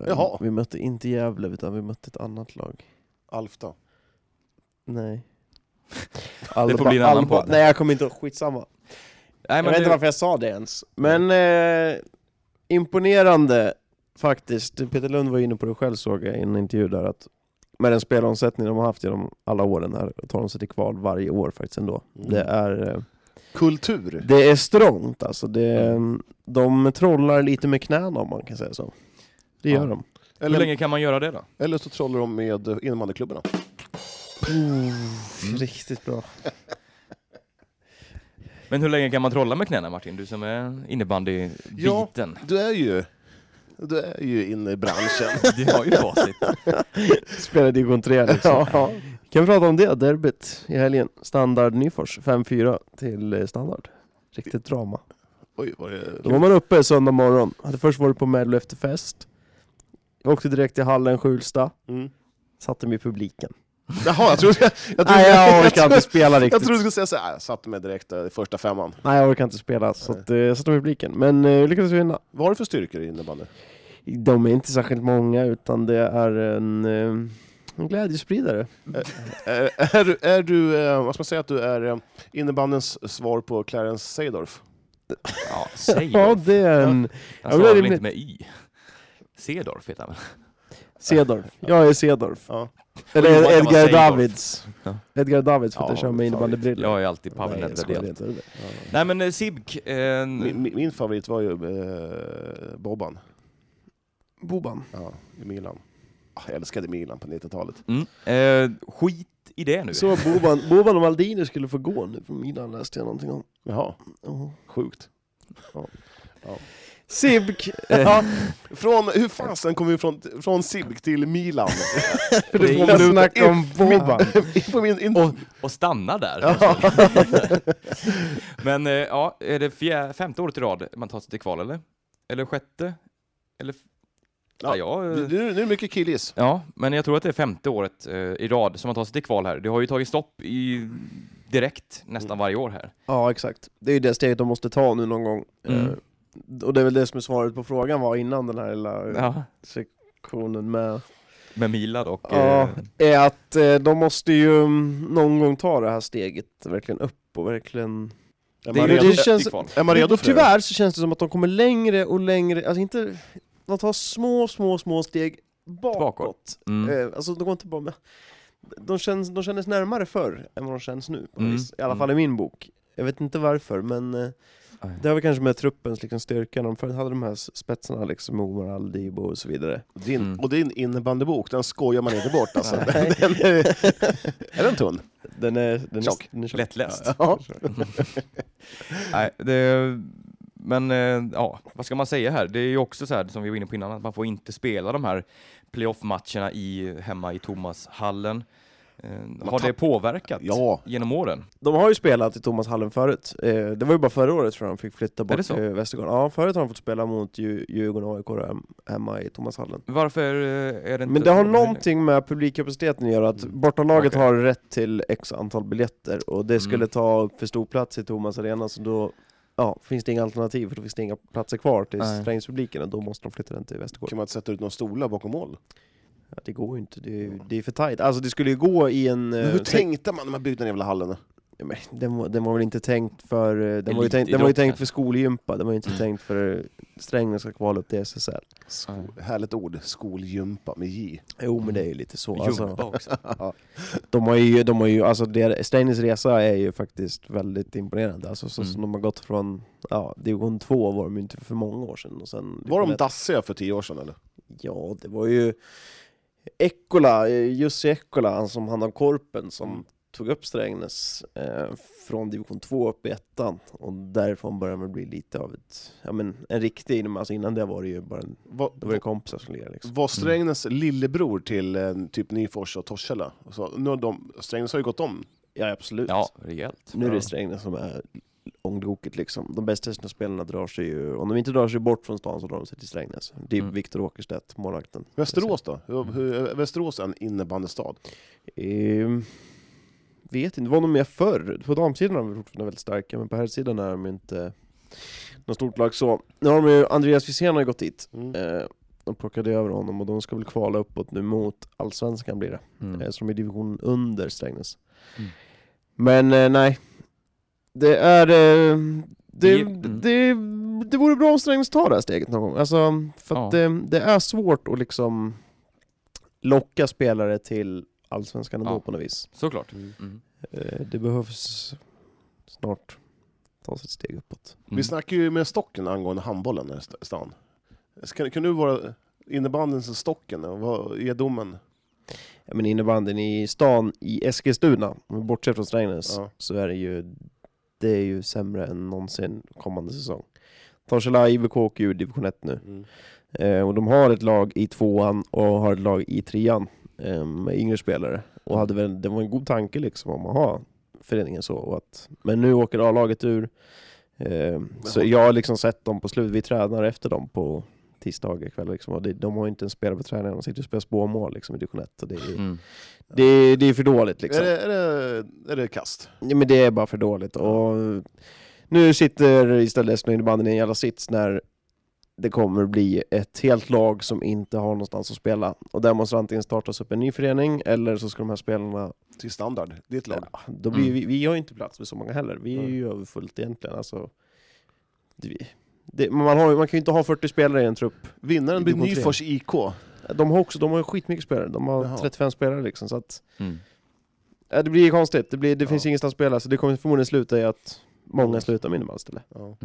eh, Jaha. Vi mötte inte Gävle, utan vi mötte ett annat lag. Alfta. Nej. *laughs* Det får bli en annan Alba- podd. Nej, jag kommer inte ihåg. Skitsamma. Nej, Jag vet inte det- varför jag sa det ens. Men eh, imponerande faktiskt. Peter Lund var inne på det själv såg jag i en intervju där att med den spelomsättning de har haft genom alla åren här, tar de sig till kval varje år faktiskt ändå. Mm. Det är... eh, Kultur. Det är strångt alltså. Det, De trollar lite med knäna om man kan säga så. Det gör Ja. de. Hur Eller, länge kan man göra det då? eller så trollar de med eh, innebandyklubborna. Riktigt bra. Men hur länge kan man trolla med knäna Martin? Du som är innebandybiten. Du är ju, du är ju inne i branschen. *laughs* Du har ju facit. Spelar division 3 liksom. ja. Kan vi prata om det? Derbyt i helgen. Standard Nyfors 5-4 till eh, Standard. Riktigt drama. Oj, var det... Då var man uppe söndag morgon. Hade först varit på Mello efter fest. Jag åkte direkt till hallen Skjulsta. Mm. Satte mig i publiken. Jaha, jag trodde... Jag, trodde, Nej, jag orkar inte *laughs* spela jag riktigt. trodde du skulle säga så här. jag satte mig direkt där i första femman. Nej, jag orkar inte spela. Så att, eh, jag satte mig i publiken. Men eh, lyckades vinna. Vad har du för styrkor i innebandy? De är inte särskilt många utan det är en, eh, en glädjespridare. Är, är, du- är du, eh, vad ska man säga, att du är eh, innebandyns svar på Clarence Seedorf? Ja, säg *laughs* Ja, då. det är en Han Ja, sa men det är väl inte rimligt. med Y? Cedorf heter han väl? Sedorf. Jag är Sedorf. Ja. Eller Johan kan vara Edgar Seedorf. Davids. Ja. Edgar Davids för att Ja, jag kör med innebandybrillor. Jag är alltid Pavel Nej, jag skojar, det är Nedved. inte det. Nej men eh, Sibk, eh, Min, min- min favorit var ju eh, Boban Boban. ja, i Milan. Ah, Jag älskade Milan på 90-talet. mm, eh, skit i det nu. Så Boban, Boban och Maldini skulle få gå nu från Milan läste jag någonting om. Jaha, Oh. sjukt. *laughs* Sibk! Ja, från, hur fasen kom vi från, från Sibk till *laughs* Milan? För du får snacka om Boban. på min, *laughs* in, *laughs* Och stanna där. *laughs* men eh, ja, är det fjär, femte året i rad man tar sig till kval eller? Eller sjätte? Eller? f- Ja, Ja, jag, eh, nu, nu är det mycket killis. ja, men jag tror att det är femte året eh, i rad som man tar sig till kval här. Det har ju tagit stopp i direkt nästan varje år här. Ja, exakt. Det är ju det steget de måste ta nu någon gång. Mm. Eh, Och det är väl det som är svaret på frågan var innan den här lilla eh, Ja. sektionen med Med Milad och... Ja, eh, är att eh, de måste ju mm, någon gång ta det här steget verkligen upp och verkligen... Är det, man är ju redo, det det känns- känns... kval. är man redo för det? Tyvärr så känns det som att de kommer längre och längre, alltså inte... De tar små, små, små steg bakåt. Bakåt. Mm. Eh, alltså de går inte bara med... De, känns, de kändes närmare förr än vad de känns nu, på något Mm. vis. i alla fall i min bok. Jag vet inte varför, men eh, Nej. det har väl kanske med truppens liksom, styrka. De förut hade de här s- spetsarna, liksom Omar Al Dibo och så vidare. Din, Mm. Och din innebandybok, den skojar man inte bort *laughs* alltså. Nej. den är, är den tunn? Den är... Den Tjock. är, den är tjock. *laughs* Lättläst. Ja. *laughs* Nej, det, men eh, ja, vad ska man säga här? Det är ju också så här som vi var inne på innan, att man får inte spela de här playoff-matcherna i, hemma i Thomashallen. Eh, har det tapp- påverkat Ja. genom åren? De har ju spelat i Thomas Hallen förut, eh, det var ju bara förra året tror jag de fick flytta det bort så? till Västergården. Ja, förut har de fått spela mot Dju- Djurgården och AIK då, hem- hemma i Thomas Hallen. Varför eh, är det inte... Men det har så- någonting med publikkapaciteten att göra, att bortalaget Okej. har rätt till x antal biljetter och det skulle Mm. ta upp för stor plats i Thomas Arena så då ja, finns det inga alternativ för då finns det inga platser kvar till Nej. Strängnäspubliken och då måste de flytta den till Västergården. Kan man inte sätta ut några stolar bakom mål? Ja, det går ju inte, det är, ju- det är för tajt. Alltså det skulle ju gå i en... eh, Men hur säk- tänkte man när man byggde den jävla hallen? Ja, men den, var, den var väl inte tänkt för... eh, Den var, ju tänkt, den Elitidrott, var ju tänkt kanske. för skolgympa, den var ju *clears throat* inte Mm. tänkt för eh, Strängnäs ska kvala upp till SSL. Nej. Härligt ord, skolgympa med J. Jo men det är ju lite så. Jumpa Alltså, också. de har ju, de har ju, alltså der- Strängnäs resa är ju faktiskt väldigt imponerande. Alltså, så, Mm. som de har gått från, ja, division 2 var de ju inte för många år sedan. Och sen, Var de dassiga för tio år sedan eller? Ja, det var ju Ekkola, eh, Jussi Ekkola, han som hann om Korpen, som tog upp Strängnäs eh, från division 2 upp i ettan. Och därifrån började det bli lite av ett, ja men en riktig, inom- alltså innan det var det ju bara en, Var, då var det kompisar som lirade liksom. var Strängnäs lillebror till eh, typ Nyfors och Torshälla? Så, nu har de, Strängnäs har ju gått om. Ja, absolut. Ja, rejält. Nu är det Strängnäs som är ångloket liksom. De bästa spelarna drar sig ju, om de inte drar sig bort från stan så drar de sig till Strängnäs. Det är Mm. Viktor Åkerstedt, målvakten. Västerås då? Hur, Mm. hur, är Västerås en innebandystad? Ehm, vet inte, det var nog mer förr. På damsidan har de fortfarande väldigt starka, men på herrsidan är de ju inte något stort lag så. Nu har de ju, Andreas Wirsén har ju gått dit. Mm. Eh, de plockade över honom och de ska väl kvala uppåt nu mot Allsvenskan blir det. Eh, Mm. så de är i division under Strängnäs. Mm. Men eh, nej, det är... Eh, det, Vi- mm. det, det vore bra om Strängnäs tar det här steget någon gång. Alltså, för att Ja. eh, det är svårt att liksom locka spelare till Allsvenskan ändå Ja. på något vis. Såklart. Mm. Mm. Eh, Det behövs snart tas ett steg uppåt. Mm. Vi snackade ju med Stocken angående handbollen här i stan. Kan, kan du vara innebandyns Stocken? och Vad är domen? Ja, men innebandyn i stan i Eskilstuna, om vi bortser från Strängnäs, Ja. så är det ju, det är ju sämre än någonsin kommande säsong. Torshälla IBK åker ur division 1 nu. Eh, och de har ett lag i tvåan och har ett lag i trean eh, med yngre spelare. Och hade väl, det var en god tanke liksom om att ha föreningen så. Och att, men nu åker A-laget ur. Eh, så jag har liksom sett dem på slut. Vi tränar efter dem på tisdagar kväll. Liksom, och det, de har ju inte en spelare på träningen. De sitter och spelar spåmål liksom, i division 1. Och det, är, Mm. det, det är för dåligt liksom. Är, det, är, det, är det kast? Ja, men det är bara för dåligt. Och nu sitter istället Esplund i banden i en jävla sits när det kommer bli ett helt lag som inte har någonstans att spela. Och där måste det antingen startas upp en ny förening eller så ska de här spelarna... Till standard, ditt lag. Ja, då blir Mm. vi, vi har ju inte plats för så många heller. Vi är ju överfullt egentligen. Alltså, det, det, men man, har, ju- man kan ju inte ha 40 spelare i en trupp. Vinnaren blir Division tre. Nyfors IK. *laughs* De har också de har ju skitmycket spelare. De har Jaha. 35 spelare liksom. Så att, Mm. ja, Äh, det blir konstigt. Det, blir, det Ja. finns ingenstans att spela så det kommer förmodligen sluta i att många slutar med innebandy istället. Ja.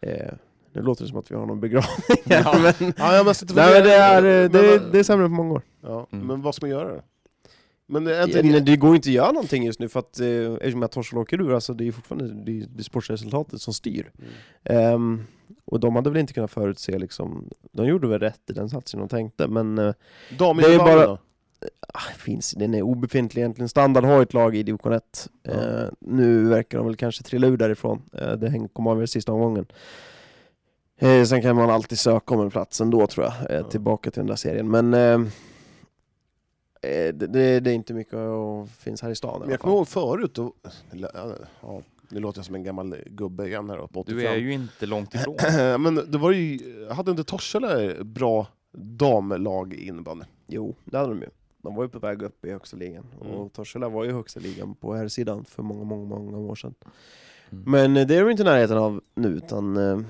Eh, nu låter det som att vi har någon begravning här, Ja. men, Ja, jag måste nej, men det, är, eh, Men det, vad- det är sämre än på många år. Ja, Mm. Men vad ska man göra då? Men det är inte... Det, det, går ju inte att göra någonting just nu för att eh, eftersom att Torshälla åker ur, alltså, det är ju fortfarande det, är det sportresultatet som styr. Ehm, och de hade väl inte kunnat förutse, liksom, de gjorde väl rätt i den satsen de tänkte, men eh, Damer det är i bara... bara- då? ah, finns, den är obefintlig egentligen. Standard har ju ett lag i division 1. Eh, nu verkar de väl kanske trilla ur därifrån. Eh, det häng- kommer avgöras sista omgången. Eh, sen kan man alltid söka om en plats ändå tror jag, eh, Ja. tillbaka till den där serien. Men eh, eh, det, det, det är inte mycket att finns här i stan Men i alla jag kommer fall. ihåg förut, då... ja, nu låter jag som en gammal gubbe igen här då, på 85. Du är ju inte långt ifrån. *clears throat* Men det var ju... Hade inte Torshälla bra damlag i innebandy? Jo, det hade de ju. De var ju på väg upp i högsta ligan. Mm. Och Torshälla var ju i högsta ligan på här sidan för många, många, många år sedan. Mm. Men eh, det är de inte i närheten av nu, utan... eh,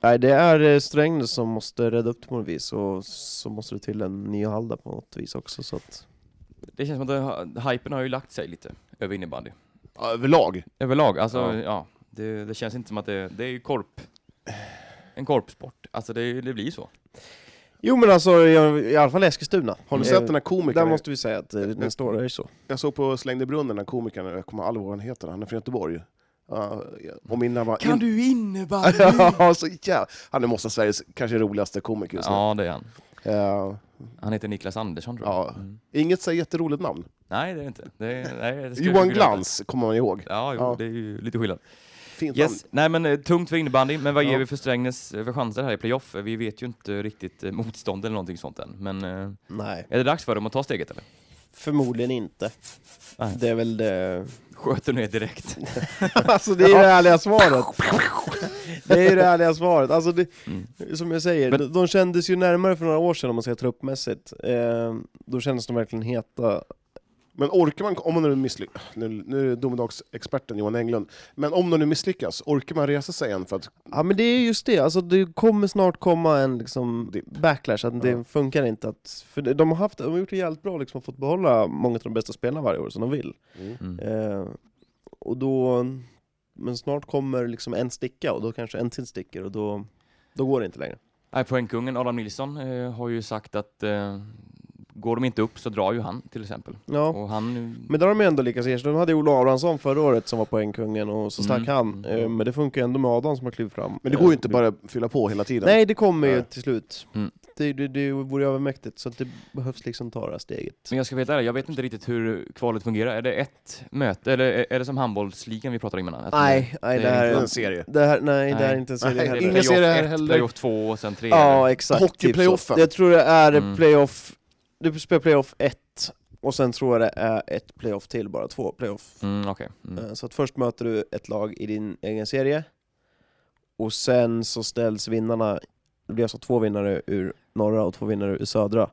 Nej, det är eh, Strängnäs som måste rädda upp det på något vis, och så måste det till en ny hall där på något vis också. Så att, *clears throat* Det känns som att det, har- hypen har ju lagt sig lite över innebandy. Ja, överlag? Överlag, alltså Ja. ja. det, det känns inte som att det, det är ju korp. En korpsport. Alltså det, det blir ju så. jo men alltså, i, i alla fall Eskilstuna. Har du Eh, sett den här Där komikern? måste vi säga att eh, den står där så. Jag såg på Släng dig i brunnen, den här komikern, jag kommer aldrig ihåg vad han heter, han är från Göteborg. Uh, och min namn var... Kan du innebandy? *laughs* ja, så jävla... Han är måste Sveriges kanske roligaste komiker just *laughs* nu. ja, det är han. Eh, Han heter Niklas Andersson tror jag. ja. Mm. Inget så här jätteroligt namn. Nej, det är det inte. Det, är- nej, det skulle Johan jag glömt. Glans kommer man ihåg. Ja, jo, Ja. det är ju lite skillnad. Fint namn. Yes. Nej, men eh, tungt för innebandy. Men vad ger Ja. vi för Strängnäs eh, för chanser här i playoff? Eh, Vi vet ju inte riktigt eh, motstånd eller någonting sånt än. Men eh, Nej, är det dags för dem att ta steget eller? förmodligen inte. Nej. Det är väl det... Sköter ner *laughs* direkt. Alltså det är ju det ärliga svaret. Det är ju det ärliga svaret. Alltså det, Som jag säger, de- de kändes ju närmare för några år sedan om man säger truppmässigt. Eh, då kändes de verkligen heta. Men orkar man, om man nu misslyckas, nu, nu är domedagsexperten Johan Englund, men om de nu misslyckas, orkar man resa sig än för att Ja men det är just det, alltså det kommer snart komma en liksom backlash, att det Ja. funkar inte att... För det- de har, haft, de har gjort det jävligt bra liksom, fått behålla många av de bästa spelarna varje år som de vill. Mm. Eh, och då... Men snart kommer liksom en sticka, och då kanske en till sticker, och då, då går det inte längre. Nej, poängkungen Adam Nilsson eh, har ju sagt att eh, går de inte upp så drar ju han till exempel. Ja. Och han... Men där har de ju ändå lyckats ersätta. De hade ju Ola Abrahamsson förra året som var poängkungen och så Mm. stack han. Eh, Men det funkar ju ändå med Adam som har klivit fram. Men det går ju Eh, inte bara att fylla på hela tiden. Nej, det kommer ju Nej. till slut. Mm. Det, det, det vore ju övermäktigt, så att det behövs liksom ta det här steget. Men jag ska veta ärlig, jag vet inte riktigt hur kvalet fungerar. Är det ett möte, eller är- är det som handbollsligan vi pratade om innan? Att Nej, nej, det det är Det är här, en serie. det här, nej, det här är Nej. inte en serie det är heller. Ingen playoff ser det här ett, heller. Playoff två och sen tre. Ja, eller? exakt. Hockeyplayoffen. Typ så. jag tror det är Mm. playoff, du spelar playoff ett, och sen tror jag det är ett playoff till, bara två playoff. Mm, okej. Mm. Eh, Så att först möter du ett lag i din egen serie, och sen så ställs vinnarna, det blir alltså två vinnare ur norra och två vinnare ur södra,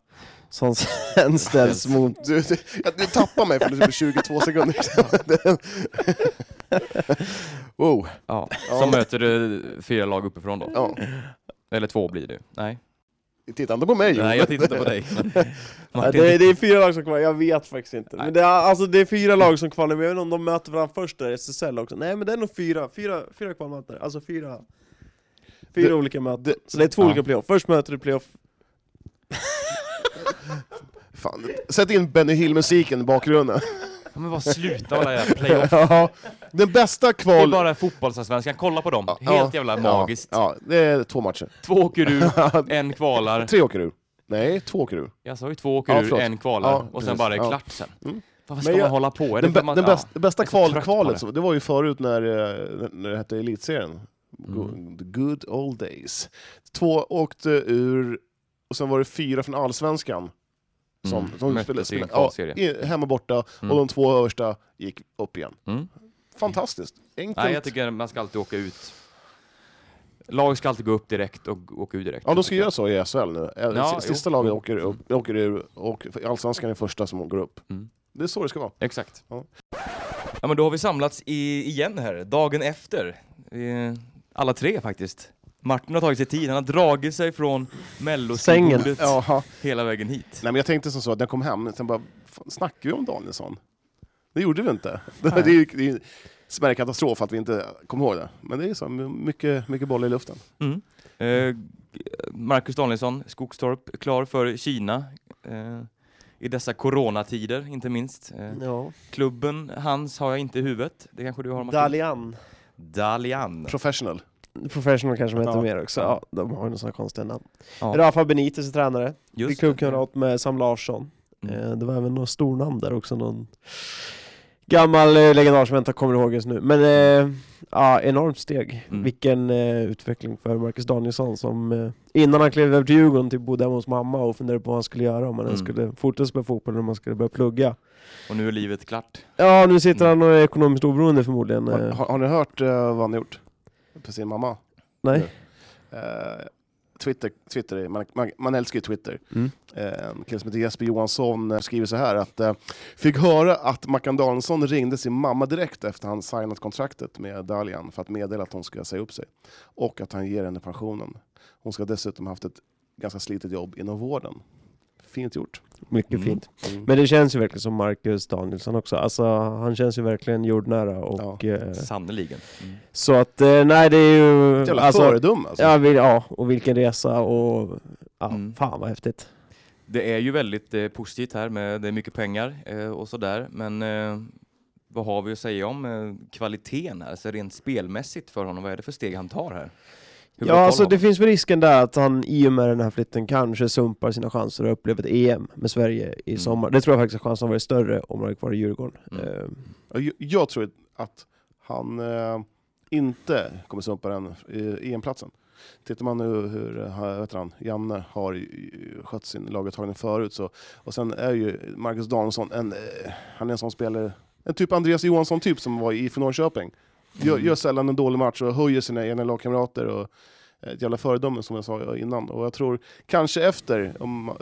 som sen ställs mot... Du, du, jag- du tappar mig för det är typ 22 sekunder *laughs* sedan. wow. Ja. Ja. Som möter du fyra lag uppifrån då. Ja. Eller två blir det. Nej. Titta inte på mig! Nej, jag tittar inte på *laughs* dig. Ja, Martin, det, det är fyra lag som kvalar, jag vet faktiskt inte. Men det är, alltså, det är fyra lag som kvalar, men jag vet inte om de möter varandra först där, SSL också. Nej men det är nog fyra, fyra, fyra kvalmöten, alltså fyra, fyra Det- olika möten. det- så det är två ja. olika playoff, först möter du playoff, Fan. Sätt in Benny Hill-musiken i bakgrunden. Ja, men bara sluta med alla jävla playoff. Ja, *laughs* Den bästa Det är kval... bara fotbollsallsvenskan, kolla på dem. Helt jävla magiskt. Ja, ja, det är två matcher. *laughs* Två åker ur, en kvalar. Tre åker ur. Nej, två åker ur. Jag sa ju två åker Ja, ur, förlåt. en kvalar Ja, och precis. sen bara är det Ja. klart sen. Mm. Varför ska Men jag- man hålla på? Är det Den, för bä, att man, den ja. bästa, bästa är så trött kval, på kvalet, det. så- det var ju förut när, eh, när det hette Elitserien. Go- Mm. The good old days. Två åkte ur, och sen var det fyra från Allsvenskan. Som, Mm, som möttes spelade, i en spelade, ja, kvalserie. i- hemma borta, Mm. och de två översta gick upp igen. Mm. Fantastiskt! Enkelt. Nej, jag tycker man ska alltid åka ut. Lag ska alltid gå upp direkt och g- åka ut direkt. Ja, de ska göra så i SHL nu. Eh, Ja, s- Sista jo. laget åker, upp, åker ur och Allsvenskan är första som går upp. Mm. Det är så det ska vara. Exakt. Ja. Ja. men då har vi samlats i, igen här, dagen efter. Eh, alla tre faktiskt. Martin har tagit sig tid, han har dragit sig från mellobordet hela vägen hit. Nej, men jag tänkte som så att när jag kom hem, sen bara, fan, snackar vi om Danielsson? Det gjorde vi inte. *laughs* Det, det är ju det är ju en smärre katastrof att vi inte kom ihåg det. Men det är ju så, mycket, mycket boll i luften. Mm. Eh, Marcus Danielsson, Skogstorp, klar för Kina eh, i dessa coronatider, inte minst. Eh, ja, klubben hans har jag inte i huvudet. Det kanske du har, Martin? Dalian. Dalian. Professional. Professional kanske de heter Ja. mer också, ja, de har ju några sådana konstiga namn. Ja. Rafa Benitez är tränare, Just vi det. klubbkamrat med Sam Larsson. Mm. Eh, Det var även några stornamn där också, någon gammal eh, legendar som jag inte kommer ihåg just nu. Men eh, ja, enormt steg. Mm. Vilken eh, utveckling för Marcus Danielsson som eh, innan han klev över till Djurgården typ bodde hemma hos mamma och funderade på vad han skulle göra, om han ens Mm. skulle fortsätta spela fotboll eller om han skulle börja plugga. Och nu är livet klart. Ja, nu sitter Mm. han och är ekonomiskt oberoende förmodligen. Har, eh, har, har ni hört eh, vad han har gjort? På sin mamma? Nej? Eh, Twitter, Twitter är- man, man, man älskar ju Twitter. Mm. Eh, En kille som heter Jesper Johansson eh, skriver så här att eh, Fick höra att Mackan Danielsson ringde sin mamma direkt efter han signat kontraktet med Dalian för att meddela att hon ska säga upp sig och att han ger henne pensionen. Hon ska dessutom haft ett ganska slitet jobb inom vården. Fint gjort. Mycket Mm. fint. Mm. Men det känns ju verkligen som Marcus Danielsson också. Alltså, han känns ju verkligen jordnära och... Eh, Sannerligen. Mm. så att, eh, nej det är ju... Jävla alltså, föredöme alltså. Ja, vi, ja, och vilken resa och ja, Mm. fan vad häftigt. Det är ju väldigt eh, positivt här med det är mycket pengar eh, och sådär, men eh, vad har vi att säga om eh, kvaliteten här, alltså rent spelmässigt för honom? Vad är det för steg han tar här? Hur Ja, bra alltså koll har det finns väl risken där att han i och med den här flytten kanske sumpar sina chanser och upplever ett EM med Sverige i Mm. sommar. Det tror jag faktiskt att chansen varit större om han hade kvar i Djurgården. Mm. Eh, Ja, Jag, jag tror att han eh, inte kommer sumpa den eh, EM-platsen. Tittar man nu hur eh, vad heter han, Janne har ju eh, skött sin laguttagning förut, så, och sen är ju Marcus Danielsson en, eh, han är en sån spelare, en typ Andreas Johansson-typ som var i IFK Norrköping. Gör, Mm. gör sällan en dålig match och höjer sina egna lagkamrater. Och, eh, ett jävla föredöme som jag sa innan. Och jag tror kanske efter, om, eh,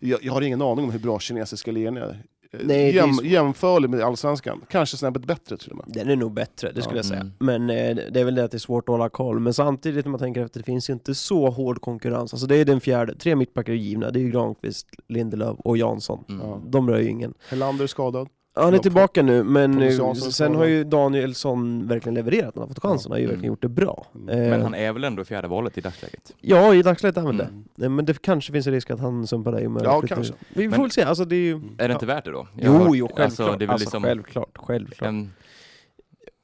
jag, jag har ingen aning om hur bra kinesiska ligan är. Eh, Nej, det är jäm, svårt. jämförlig med allsvenskan. Kanske snäppet bättre till och med. Den är nog bättre, det skulle Ja. jag säga. Mm. Men eh, det är väl det att det är svårt att hålla koll. Men samtidigt när man tänker efter, det finns ju inte så hård konkurrens. Alltså det är den fjärde, tre mittbackar är givna. Det är ju Granqvist, Lindelöf och Jansson. de? Ja. Mm. De rör ju ingen. Helander skadad. Ja, Han är Ja, på- tillbaka nu, men Pontus eh, Jansson är sen skadad. har ju Danielsson verkligen levererat. Han har fått chansen, han har ju verkligen Mm. gjort det bra. Mm. Eh, Men han är väl ändå fjärde valet i dagsläget? Ja, i dagsläget är han väl det. Mm. Nej, Men det kanske finns en risk att han sumpar dig med Ja, flyttar kanske. ut. Vi får Men- väl se, alltså det är ju... Är det inte värt det då? Jag har Jo, hört- jo, självklart. alltså, Alltså, det är väl liksom självklart, självklart, en,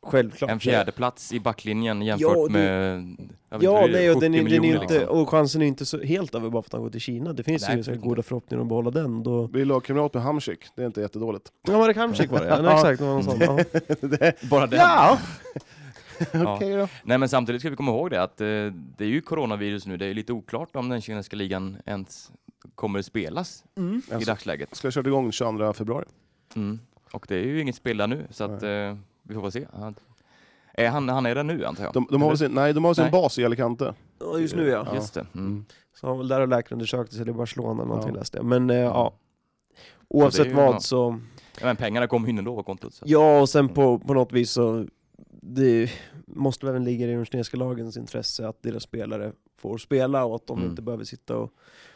självklart. en fjärde plats i backlinjen jämfört Ja, det- med jag vet Ja, inte, det är nej, och, 70 den, är- den är ju miljoner inte, liksom. och chansen är ju inte så helt över bara för att han går till Kina. Det finns Nej, ju så absolut goda förhoppningar om att behålla den. Då... Vi är lagkamrat med Hamsik, det är inte jättedåligt. Ja, var det Kamsik var det? Ja, nej, exakt. Det var någon sån. Ja. Bara den. *laughs* ja! Ja. Okej då. Nej men samtidigt ska vi komma ihåg det att eh, det är ju coronavirus nu, det är ju lite oklart om den kinesiska ligan ens kommer att spelas i Alltså, dagsläget. ska jag köra igång den 22 februari. Mm. Och det är ju inget spel där nu så att eh, vi får väl se. Han, är han, han är där nu antar jag? De, de har väl sin, nej, de har väl sin Nej. bas i Alicante. *laughs* Ja, just nu ja. Eller? Just det. Mm. Så han var väl där och läkarundersökte sig, eller i Barcelona någonting Ja. läste jag. Men eh, ja, ju- oavsett ja. vad så... Alltså. Ja, men pengarna kommer ju ändå på kontot. Så. Ja, och sen på, på något vis så... Det, måste väl även ligga i de kinesiska lagens intresse att deras spelare får spela och att de Mm. inte behöver sitta och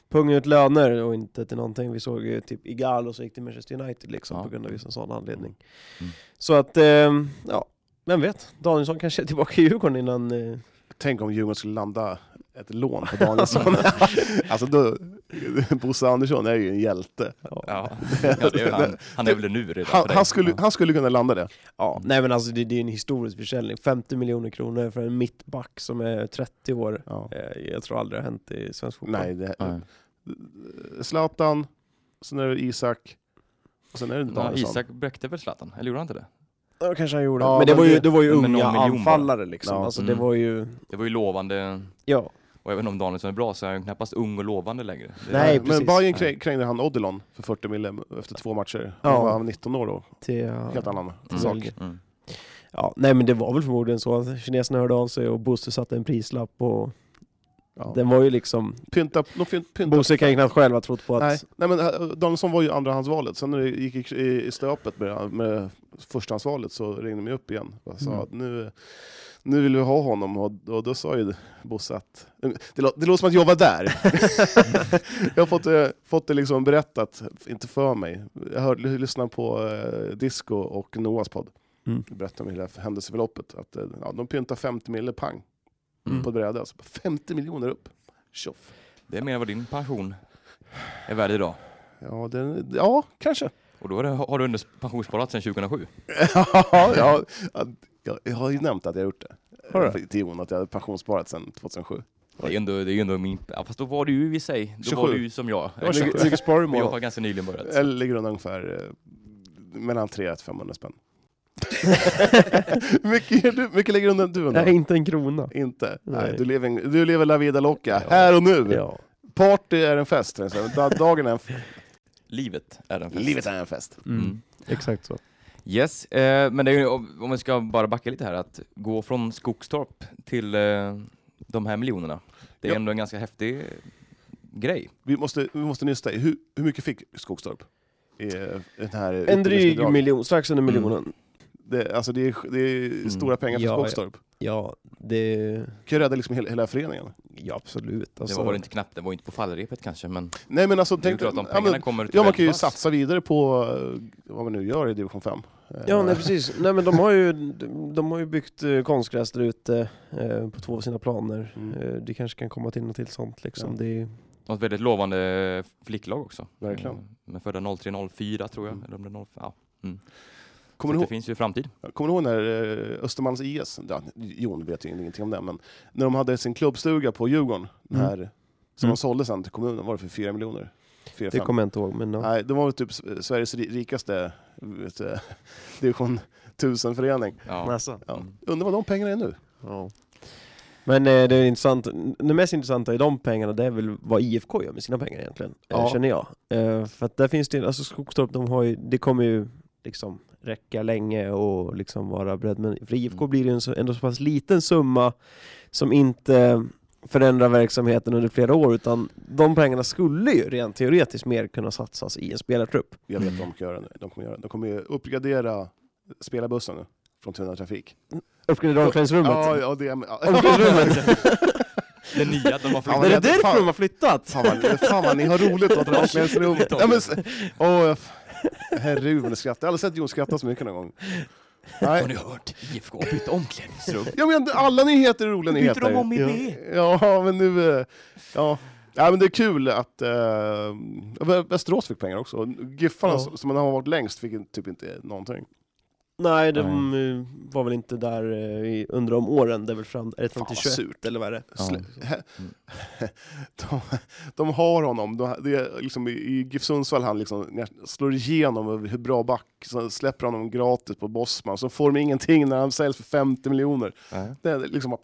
punga ut löner och inte till någonting. Vi såg ju typ Igalo som gick till Manchester United liksom Ja. på grund av just en sån anledning. Mm. Så att, ehm, ja, vem vet? Danielsson kanske är tillbaka i Djurgården innan... Eh, Tänk om Djurgården skulle landa ett lån på *laughs* Danielsson. alltså då, Bosse Andersson är ju en hjälte. Ja, ja det är väl han, han är väl det nu redan. Han, för dig. han, skulle, Ja. han skulle kunna landa det. ja, Mm. nej men alltså det, det är en historisk försäljning. 50 miljoner kronor för en mittback som är 30 år. Ja. Eh, jag tror aldrig det har hänt i svensk fotboll. Nej, det, Nej. Zlatan, sen är det Isak, och sen är det Ja, Danielsson. Isak bräckte väl Zlatan? Eller gjorde han inte det? Ja, kanske han gjorde. Ja, men, men det, var ju, det- det var ju men någon unga miljon bara. anfallare liksom. Ja. Alltså Mm. det var ju, Det var ju lovande. ja. Och även om Danielsson är bra så är han knappast ung och lovande längre. Det- Nej, men precis. Bayern krä- krängde han Odilon för 40 mille efter två matcher. Ja. Han var han 19 år då, Till, eh, helt annan Mm. sak. Mm. ja. Nej men det var väl förmodligen så att kineserna hörde av sig och Bosse satte en prislapp och Ja. den var ju liksom, Pynta, de pynt, pynta. Bosse kan ju knappt själv ha trott på att Nej, nej men eh, Danielsson var ju andrahandsvalet, sen när det gick i, i, i stöpet med, med förstahandsvalet så ringde de ju upp igen och sa Mm. att nu, nu vill vi ha honom, och, och då sa ju Bosse att... Det, lå, det låter som att jag var där. *laughs* jag har fått, eh, fått det liksom berättat, inte för mig. Jag hörde, lyssnade på eh, Disco och Noahs podd, Mm. berättade om hela händelseförloppet. Att, eh, ja, de pyntade 50 mille pang Mm. på ett bräde, alltså 50 miljoner upp. Tjoff. Det är mer vad din pension är värd idag. Ja, det, ja, kanske. Och då är det, har du under pensionssparat sedan 2007. ja, jag, jag, jag har ju nämnt att jag har gjort det. Har du? För- Till Jon, att jag har pensionssparat sedan 2007. Det är ju ändå, det är ju ändå min... Ja, fast då var du ju i sig. Då var 27. du ju som jag. Jag ligger- ligger sparar i Men jag har månaden. ganska nyligen börjat. Jag ligger runt ungefär eh, mellan 300 och *laughs* 500 spänn. Hur mycket, ger du, mycket lägger undan du undan? Nej, inte en krona. Inte? Nej. Nej. du, lever, en- du lever la vida loca, här och nu. Ja. Party är en fest. tror jag. Så da- Dagen är *laughs* en fest. Livet är den fest. Livet är en fest. Mm. Mm. Exakt så. Yes, eh, men det är ju, om om vi ska bara backa lite här, att gå från Skogstorp till eh, de här miljonerna. Det är Ja. ändå en ganska häftig eh, grej. Vi måste, vi måste nysta i, hur, hur mycket fick Skogstorp? I, eh, den här En dryg utbildningsbidraget? miljon, strax under Mm. miljonen. Det, alltså det är, det är stora pengar för Mm. Ja, ja. Skogstorp. Ja, det... kan ju rädda liksom hela, hela föreningen. Ja, absolut. Alltså, det var väl inte knappt, det var inte på fallrepet kanske, men Nej men alltså, det är ju tänk, klart om ja, pengarna men, kommer till ja, man kan ju Elfsborg. satsa vidare på eh, vad man nu gör i division 5. Eh, Ja, nej precis. Nej men de har ju, de, de har ju byggt eh, konstgräs där ute eh, på två av sina planer. Mm. Eh, det kanske kan komma till något till sånt liksom. Ja. Det är, Något väldigt lovande flicklag också. Verkligen. Eh, Men födda 0304 tror jag. Mm. Eller om det är 05, ja. Mm. Så kommer, du det ihåg, finns ju framtid. kommer du ihåg när eh, Östermalms IS, ja, Jon vet ju ingenting om det, men när de hade sin klubbstuga på Djurgården, Mm. här, som Mm. de sålde sen till kommunen, var det för 4 miljoner? 4, det kommer jag inte ihåg, men ja. Nej, de var väl typ S- Sveriges ri- rikaste vet, du, *laughs* division 1000-förening. Ja. Ja. Mm. Undrar vad de pengarna är nu? Ja. Men eh, det är intressant, det mest intressanta i de pengarna det är väl vad IFK gör med sina pengar egentligen, eh, Ja. känner jag. Eh, För att där finns det, alltså Skogstorp, de har ju, det kommer ju liksom räcka länge och liksom vara bredd. Men för IFK Mm. blir det ju en så, ändå så pass liten summa som inte förändrar verksamheten under flera år utan de pengarna skulle ju rent teoretiskt mer kunna satsas i en spelartrupp. Jag vet Mm. vad de kommer göra nu. De kommer, göra, de kommer ju uppgradera spelarbussen nu, från Tuna Trafik. Uppgradera omklädningsrummet. Ja, ja, det, ja. Omklädningsrummet. Det nya, de har Ja, är flyttat. det men det- därför fan- de har *laughs* flyttat? Fan vad, fan vad ni har roligt åt omklädningsrummet. Ja, men, s- åh, jag f- herregud vad ni skrattar. Jag har aldrig sett Jon skratta så mycket någon gång. Har ni Nej. hört? IFK har bytt omklädningsrum. Ja, men alla nyheter är roliga Byter nyheter. de om idé? Ja, *laughs* men nu... eh, Ja. Ja, men det är kul att eh, Vä- Västerås fick pengar också. Giffarna Ja. som som har varit längst fick typ inte någonting. Nej, de eh, var väl inte där eh, i- under de åren, det är väl fram, är det fram Fan, till vad 21 surt. eller vad är det? Ja. Sl- de, de har honom. De, det är liksom, I i GIF Sundsvall han liksom, när han slår igenom över hur bra back, så släpper han honom gratis på Bosman, så får de ingenting när han säljs för 50 miljoner. Nej. Det är liksom bara,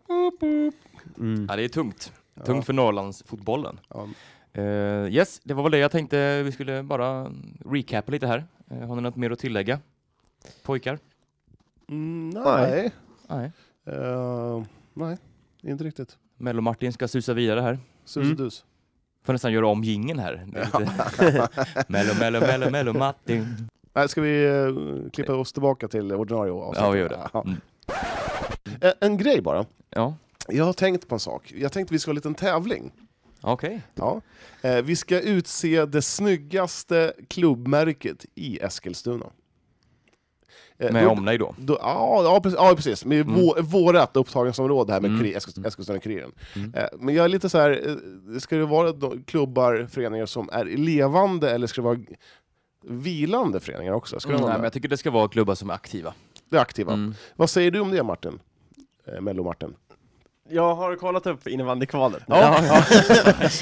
Mm. Ja, det är tungt. Tungt för Norrlandsfotbollen. ja, Eh, yes, det var väl det jag tänkte. Vi skulle bara recapa lite här. Eh, har ni något mer att tillägga? Pojkar? mm, nej. Nej. Eh, nej, inte riktigt. Mello-Martin ska susa vidare här. Sus Mm. och dus. *laughs* Får nästan göra om gingen här. Det är lite... *laughs* mello, mello, mello, mello, Martin. Nej, ska vi eh, klippa oss tillbaka till ordinarie avsnitt? Ja, vi gör det. Mm. Eh, En grej bara. Ja, Jag har tänkt på en sak. Jag tänkte vi ska ha en liten tävling. okej. Ja. Eh, Vi ska utse det snyggaste klubbmärket i Eskilstuna. Eh, Med då- omnejd då. Då, ja, ja, precis, ja, precis. Med vår, vårat upptagningsområde här med mm. Eskilstuna-Kuriren. Eh, men jag är lite så här, eh, ska det vara då, klubbar, föreningar som är levande eller ska det vara g- vilande föreningar också? Ska det Mm, nej, vara men det? jag tycker det ska vara klubbar som är aktiva. det är aktiva. Mm. Vad säger du om det Martin? Eh, Mello-Martin? Jag har kollat upp innebandykvalet. Ja. *laughs*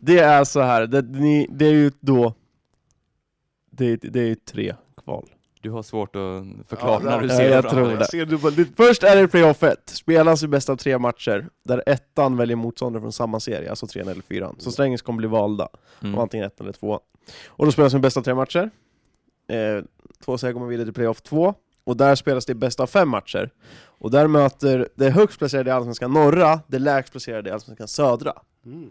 Det är så här, det, ni, det är ju då... Det, är- det är ju tre kval. *laughs* Du har svårt att förklara när du ja, ser jag framför tror dig. det. Ser du på ditt... Först är det playoff 1, spelas i bäst av tre matcher, där ettan väljer motståndare från samma serie, alltså trean eller fyran. Så Strängnäs kommer bli valda, Mm. av antingen ettan eller tvåan. Och då spelas det i bäst av tre matcher, eh, två segrar kommer vidare till playoff 2, och där spelas det i bäst av fem matcher. Och där möter det högst placerade i Allsvenskan norra, det lägst placerade i Allsvenskan södra. Mm.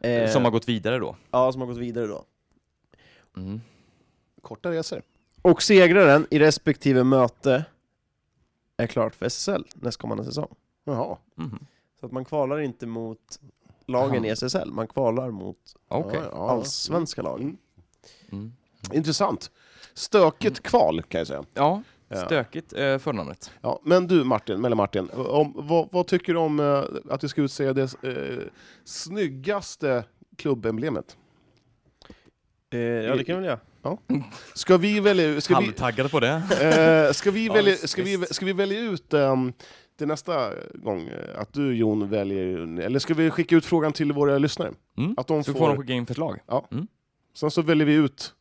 Eh, Som har gått vidare då. Ja, som har gått vidare då. Mm. Korta resor. Och segraren i respektive möte är klart för SSL nästkommande säsong. Jaha. Mhm. Så att man kvalar inte mot lagen i SSL, man kvalar mot Okej. Ja, ja. allsvenska lag. Mm. Mm. Intressant. Stökigt kval kan jag säga. Ja, Ja. stökigt eh, förnamnet. Ja, men du Martin, eller Martin, om, vad, vad tycker du om eh, att vi ska utse det eh, snyggaste klubbemblemet? Eh, ja, det kan väl jag. Ska vi välja, ska vi, Halvtaggade på det. eh, ska *laughs* vi Ja, välja, visst, ska vi, visst. ska vi välja ut ehm, det nästa gång, eh, att du Jon väljer, eller ska vi skicka ut frågan till våra lyssnare? Mm. Att de Så får de får, skicka in förslag. sen så väljer vi ut,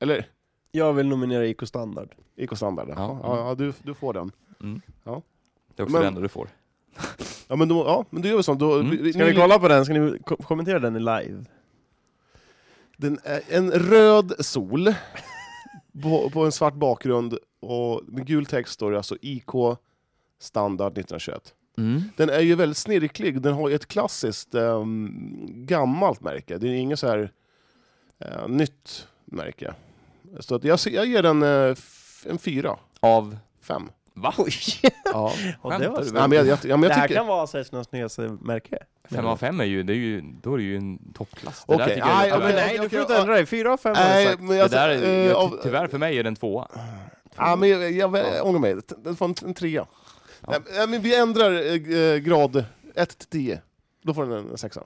eller Jag vill nominera IK Standard. IK Standard, ja, Ja. ja, du, du får den. Det är också Men- det enda du får. Ja men då, ja, men då gör vi så. Då, Mm. Ska ni- vi kolla på den? Ska ni ko- kommentera den i live? Den är en röd sol på, på en svart bakgrund och med gul text står det alltså IK standard 1921. Mm. Den är ju väldigt snirklig, den har ju ett klassiskt ehm, gammalt märke. Det är inget så här eh, nytt märke. Så att jag, ser- jag ger den eh, f- en fyra, Av? fem. Va? *laughs* Ja. Ja, det, var Skämtar du? Nej, men jag, jag, ja, men det jag här tycker... kan vara Sveriges nyaste märke. Fem av fem är ju, det är ju, då är det ju en toppklass. Det Okej, där tycker jag nej, är- ja, men- Nej, du okej, får inte ja. ändra dig. Fyra av fem har jag Nej, sagt. men det jag, där är, eh, jag, av- tyvärr för mig är den tvåa. Ja, men jag, jag, jag ångrar mig. Den får en, en trea. Nej, men- Nej, men vi ändrar eh, eh, grad 1 till 10. Då får den en sexa.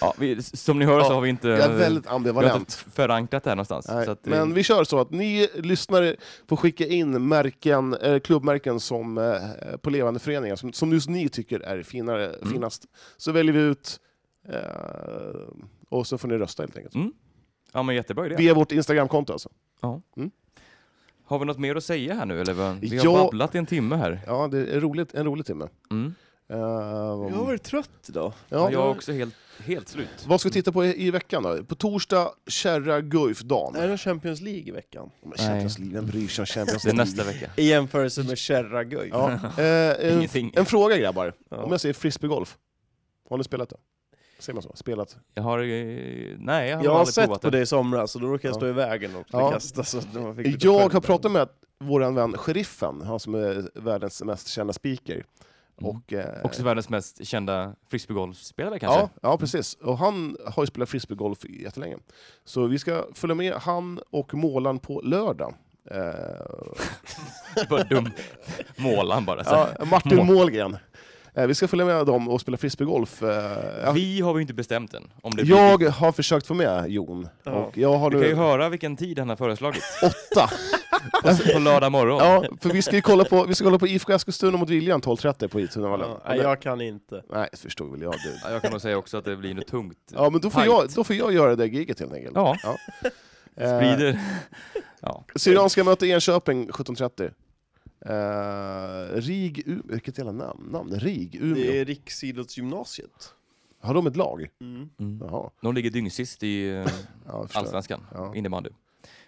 Ja, vi, som ni hör så Ja, har vi inte, Jag är väldigt vi Eh, har inte ambivalent. förankrat det här någonstans. Nej, Så att, eh, men vi kör så att ni lyssnare får skicka in märken, eh, klubbmärken som, eh, på levande föreningar som, som just ni tycker är finare, Mm. finast. Så väljer vi ut eh, och så får ni rösta helt enkelt. Mm. ja, men jättebra idé. Via vårt Instagramkonto alltså. Har vi något mer att säga här nu eller? vad? Vi har Ja. babblat i en timme här. Ja, det är roligt, en rolig timme. Mm. Eh, Jag har varit trött idag. Ja, ja. jag är också helt, helt slut. Vad ska vi titta på i, i veckan då? På torsdag, Kärra Guif Dam. Är det Champions League i veckan? Men Champions League, vem bryr sig om Champions Det är League? nästa vecka. I jämförelse med Kärra Guif. Ja. Eh, en, Ingenting. en fråga grabbar, Ja. om jag säger frisbeegolf, har ni spelat det? Säger man så? Spelat? Jag har... eh, Nej, jag har Jag har aldrig sett provat på det. det i somras, och då råkade jag stå i vägen och Ja. kasta så att man fick lite Jag sköld har där. pratat med vår vän Sheriffen, han som är världens mest kända speaker. Och, eh, Mm. Också världens mest kända frisbeegolfspelare kanske? ja, ja, precis. Och han har ju spelat frisbeegolf i jättelänge. Så vi ska följa med han och målaren på lördag. Eh, Bara dum. Målan bara. Så. Ja, Alltså, Martin Mål. Målgren. Eh, Vi ska följa med dem och spela frisbeegolf. eh, ja. Vi har ju inte bestämt än. Om det blir- Jag har försökt få med Jon, Ja. och jag har Du kan ju nu höra vilken tid han har föreslagit. *laughs* åtta. På, på lördag morgon. Ja, för vi ska ju kolla på, vi ska kolla på IFK Eskilstuna mot Viljan 12.30 på Itunavallen. Ja, nej, jag kan inte. Nej, förstod väl jag. *laughs* Du. Ja, Jag kan nog säga också att det blir något tungt. Ja, men då får Tight. jag, då får jag göra det giget helt enkelt. Ja, Eh, sprider. Syrianska möter Enköping 17.30. Eh, Rig Umeå, vilket jävla namn. namn. Rig Det Umeå. är Riksidrottsgymnasiet. Har de ett lag? Mm. Mm. Jaha. De ligger dyngsist i eh, Ja, jag förstår. allsvenskan, Ja. innebandy.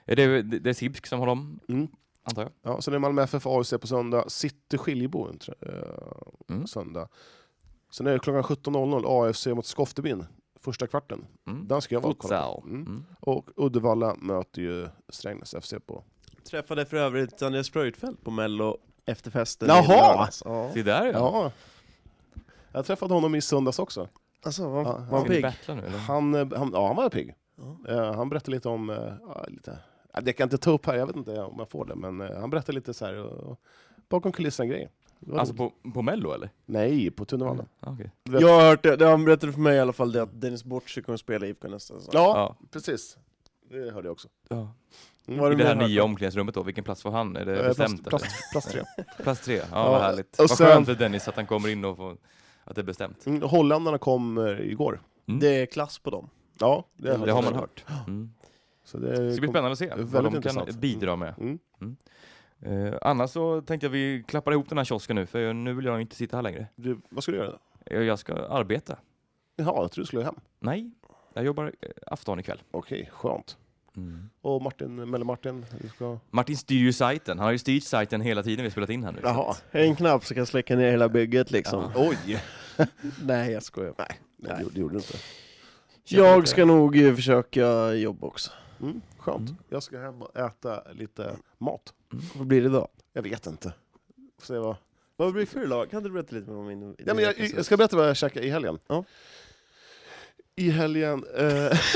Är Det, det är Sibsk som har dem, Mm. antar jag. Ja, sen är det Malmö FF AIC på söndag, City Skiljebo tror jag, eh, Mm. söndag. Sen är det klockan 17.00 AFC mot Skoftebyn, första kvarten. Mm. Den ska jag vara och kolla på. Futsal. Mm. Mm. Och Uddevalla möter ju Strängnäs FC på Träffade för övrigt Andreas Breuitfeldt på mello efter festen Jaha! i lördags. Ja. Se där ja. Ja. Jag träffade honom i söndags också. Alltså, var, Ja, var han Ska ni pigg? battla nu eller? Han, eh, han, ja, han var pigg. Eh, han berättade lite om... eh, ja, lite, ja, det kan jag inte ta upp här, jag vet inte om jag får det, men eh, han berättade lite så här eh, bakom kulisserna-grejer. Det var Alltså roligt. på, på mello eller? Nej, på Tunavallen. Ah, okej. Vet- Jag har hört det, det han berättade för mig i alla fall det att Dennis Bortzy kommer spela i IFK nästa säsong. Ja, Ja. precis. Det hörde jag också. Ja. Mm. Var I det här mer nya omklädningsrummet då, vilken plats får han? Är det Eh, bestämt? plats, eller? *laughs* plats, plats tre. Plats tre, ja, Ja, vad härligt. och Vad sen- skönt för Dennis att han kommer in och får, att det är bestämt. Mm, holländarna kom eh, igår. Det är klass på dem. Ja, det, hörde Det har jag. man hört. Mm. Så det Det ska bli kom- spännande att se vad de väldigt kan intressant. bidra med. Mm. Eh, annars så tänkte jag vi klappar ihop den här kiosken nu, för jag, nu vill jag inte sitta här längre. Du, vad ska du göra? då? Jag, jag ska arbeta. Jaha, jag trodde du skulle hem. Nej, jag jobbar eh, afton ikväll. Okej, skönt. Mm. Och Martin, Melle Martin, du ska... Martin styr ju sajten. Han har ju styrt sajten hela tiden vi spelat in här nu. Jaha. En knapp så kan släcka ner hela bygget liksom. Oj! Nej jag skojar. Nej. Nej, det gjorde- det gjorde du inte. Jag ska nog eh, försöka jobba också. Mm, skönt. Jag ska hem och äta lite mat. Vad blir det då? Jag vet inte. Får Se vad... Vad blir det för lag? Kan inte du berätta lite mer om min... ja, men jag, jag ska berätta vad jag käkade i helgen. Ja. I helgen... Eh... *laughs*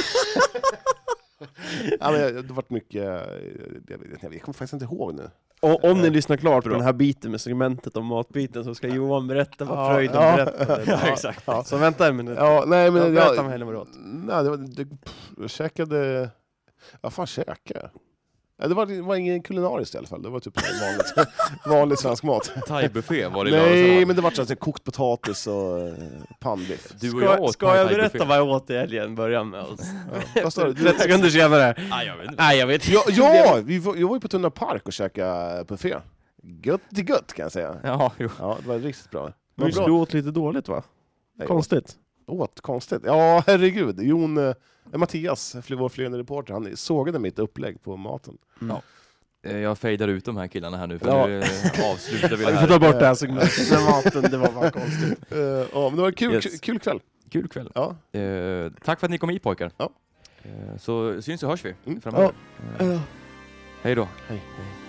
ja, men jag- det har varit mycket... eh, Jag, vet- jag kommer faktiskt inte ihåg nu. Och om ni lyssnar klart på den här biten med segmentet om matbiten så ska Johan berätta vad Ja, Fröjden ja. *laughs* berättade. Ja, ja. Så vänta en minut. Ja, nej, men Ja, jag, berätta om helgen vad du åt. Nej, det var, det, pff, jag käkade... Vad fan käkade jag? Ja, Det var, det var ingen kulinariskt i alla fall, det var typ *laughs* vanligt, vanlig svensk mat. Thaibuffé var det i Nej, lördags. men det var så här kokt potatis och eh, pannbiff. Du och jag Ska, åt ska jag thai-buffé. berätta vad jag åt i helgen? Börja med oss. Vad sa du? Du- 30 sekunder senare. Nej, jag vet inte. Nej jag vet Ja, ja vi var, jag var ju på Tunna Park och käkade buffé. Gött till gött kan jag säga. Ja, jo. Ja, det var riktigt bra. Men Vad du bra. åt lite dåligt va? Nej, Konstigt. Åt konstigt. Ja, herregud. Jon, eh, Mattias, fly- vår flygande reporter, han sågade mitt upplägg på maten. Eh, Jag fejdar ut de här killarna här nu, för Ja. nu eh, avslutar *laughs* vi det Vi får här. ta bort det här segmentet. Men maten, det var bara konstigt. Eh, ja, men det var en kul, Yes. kul, kul kväll. Kul kväll. Ja. Eh, tack för att ni kom hit pojkar. Ja. Eh, så syns och hörs vi Mm. framöver. Eh, hej då. Hej. hej.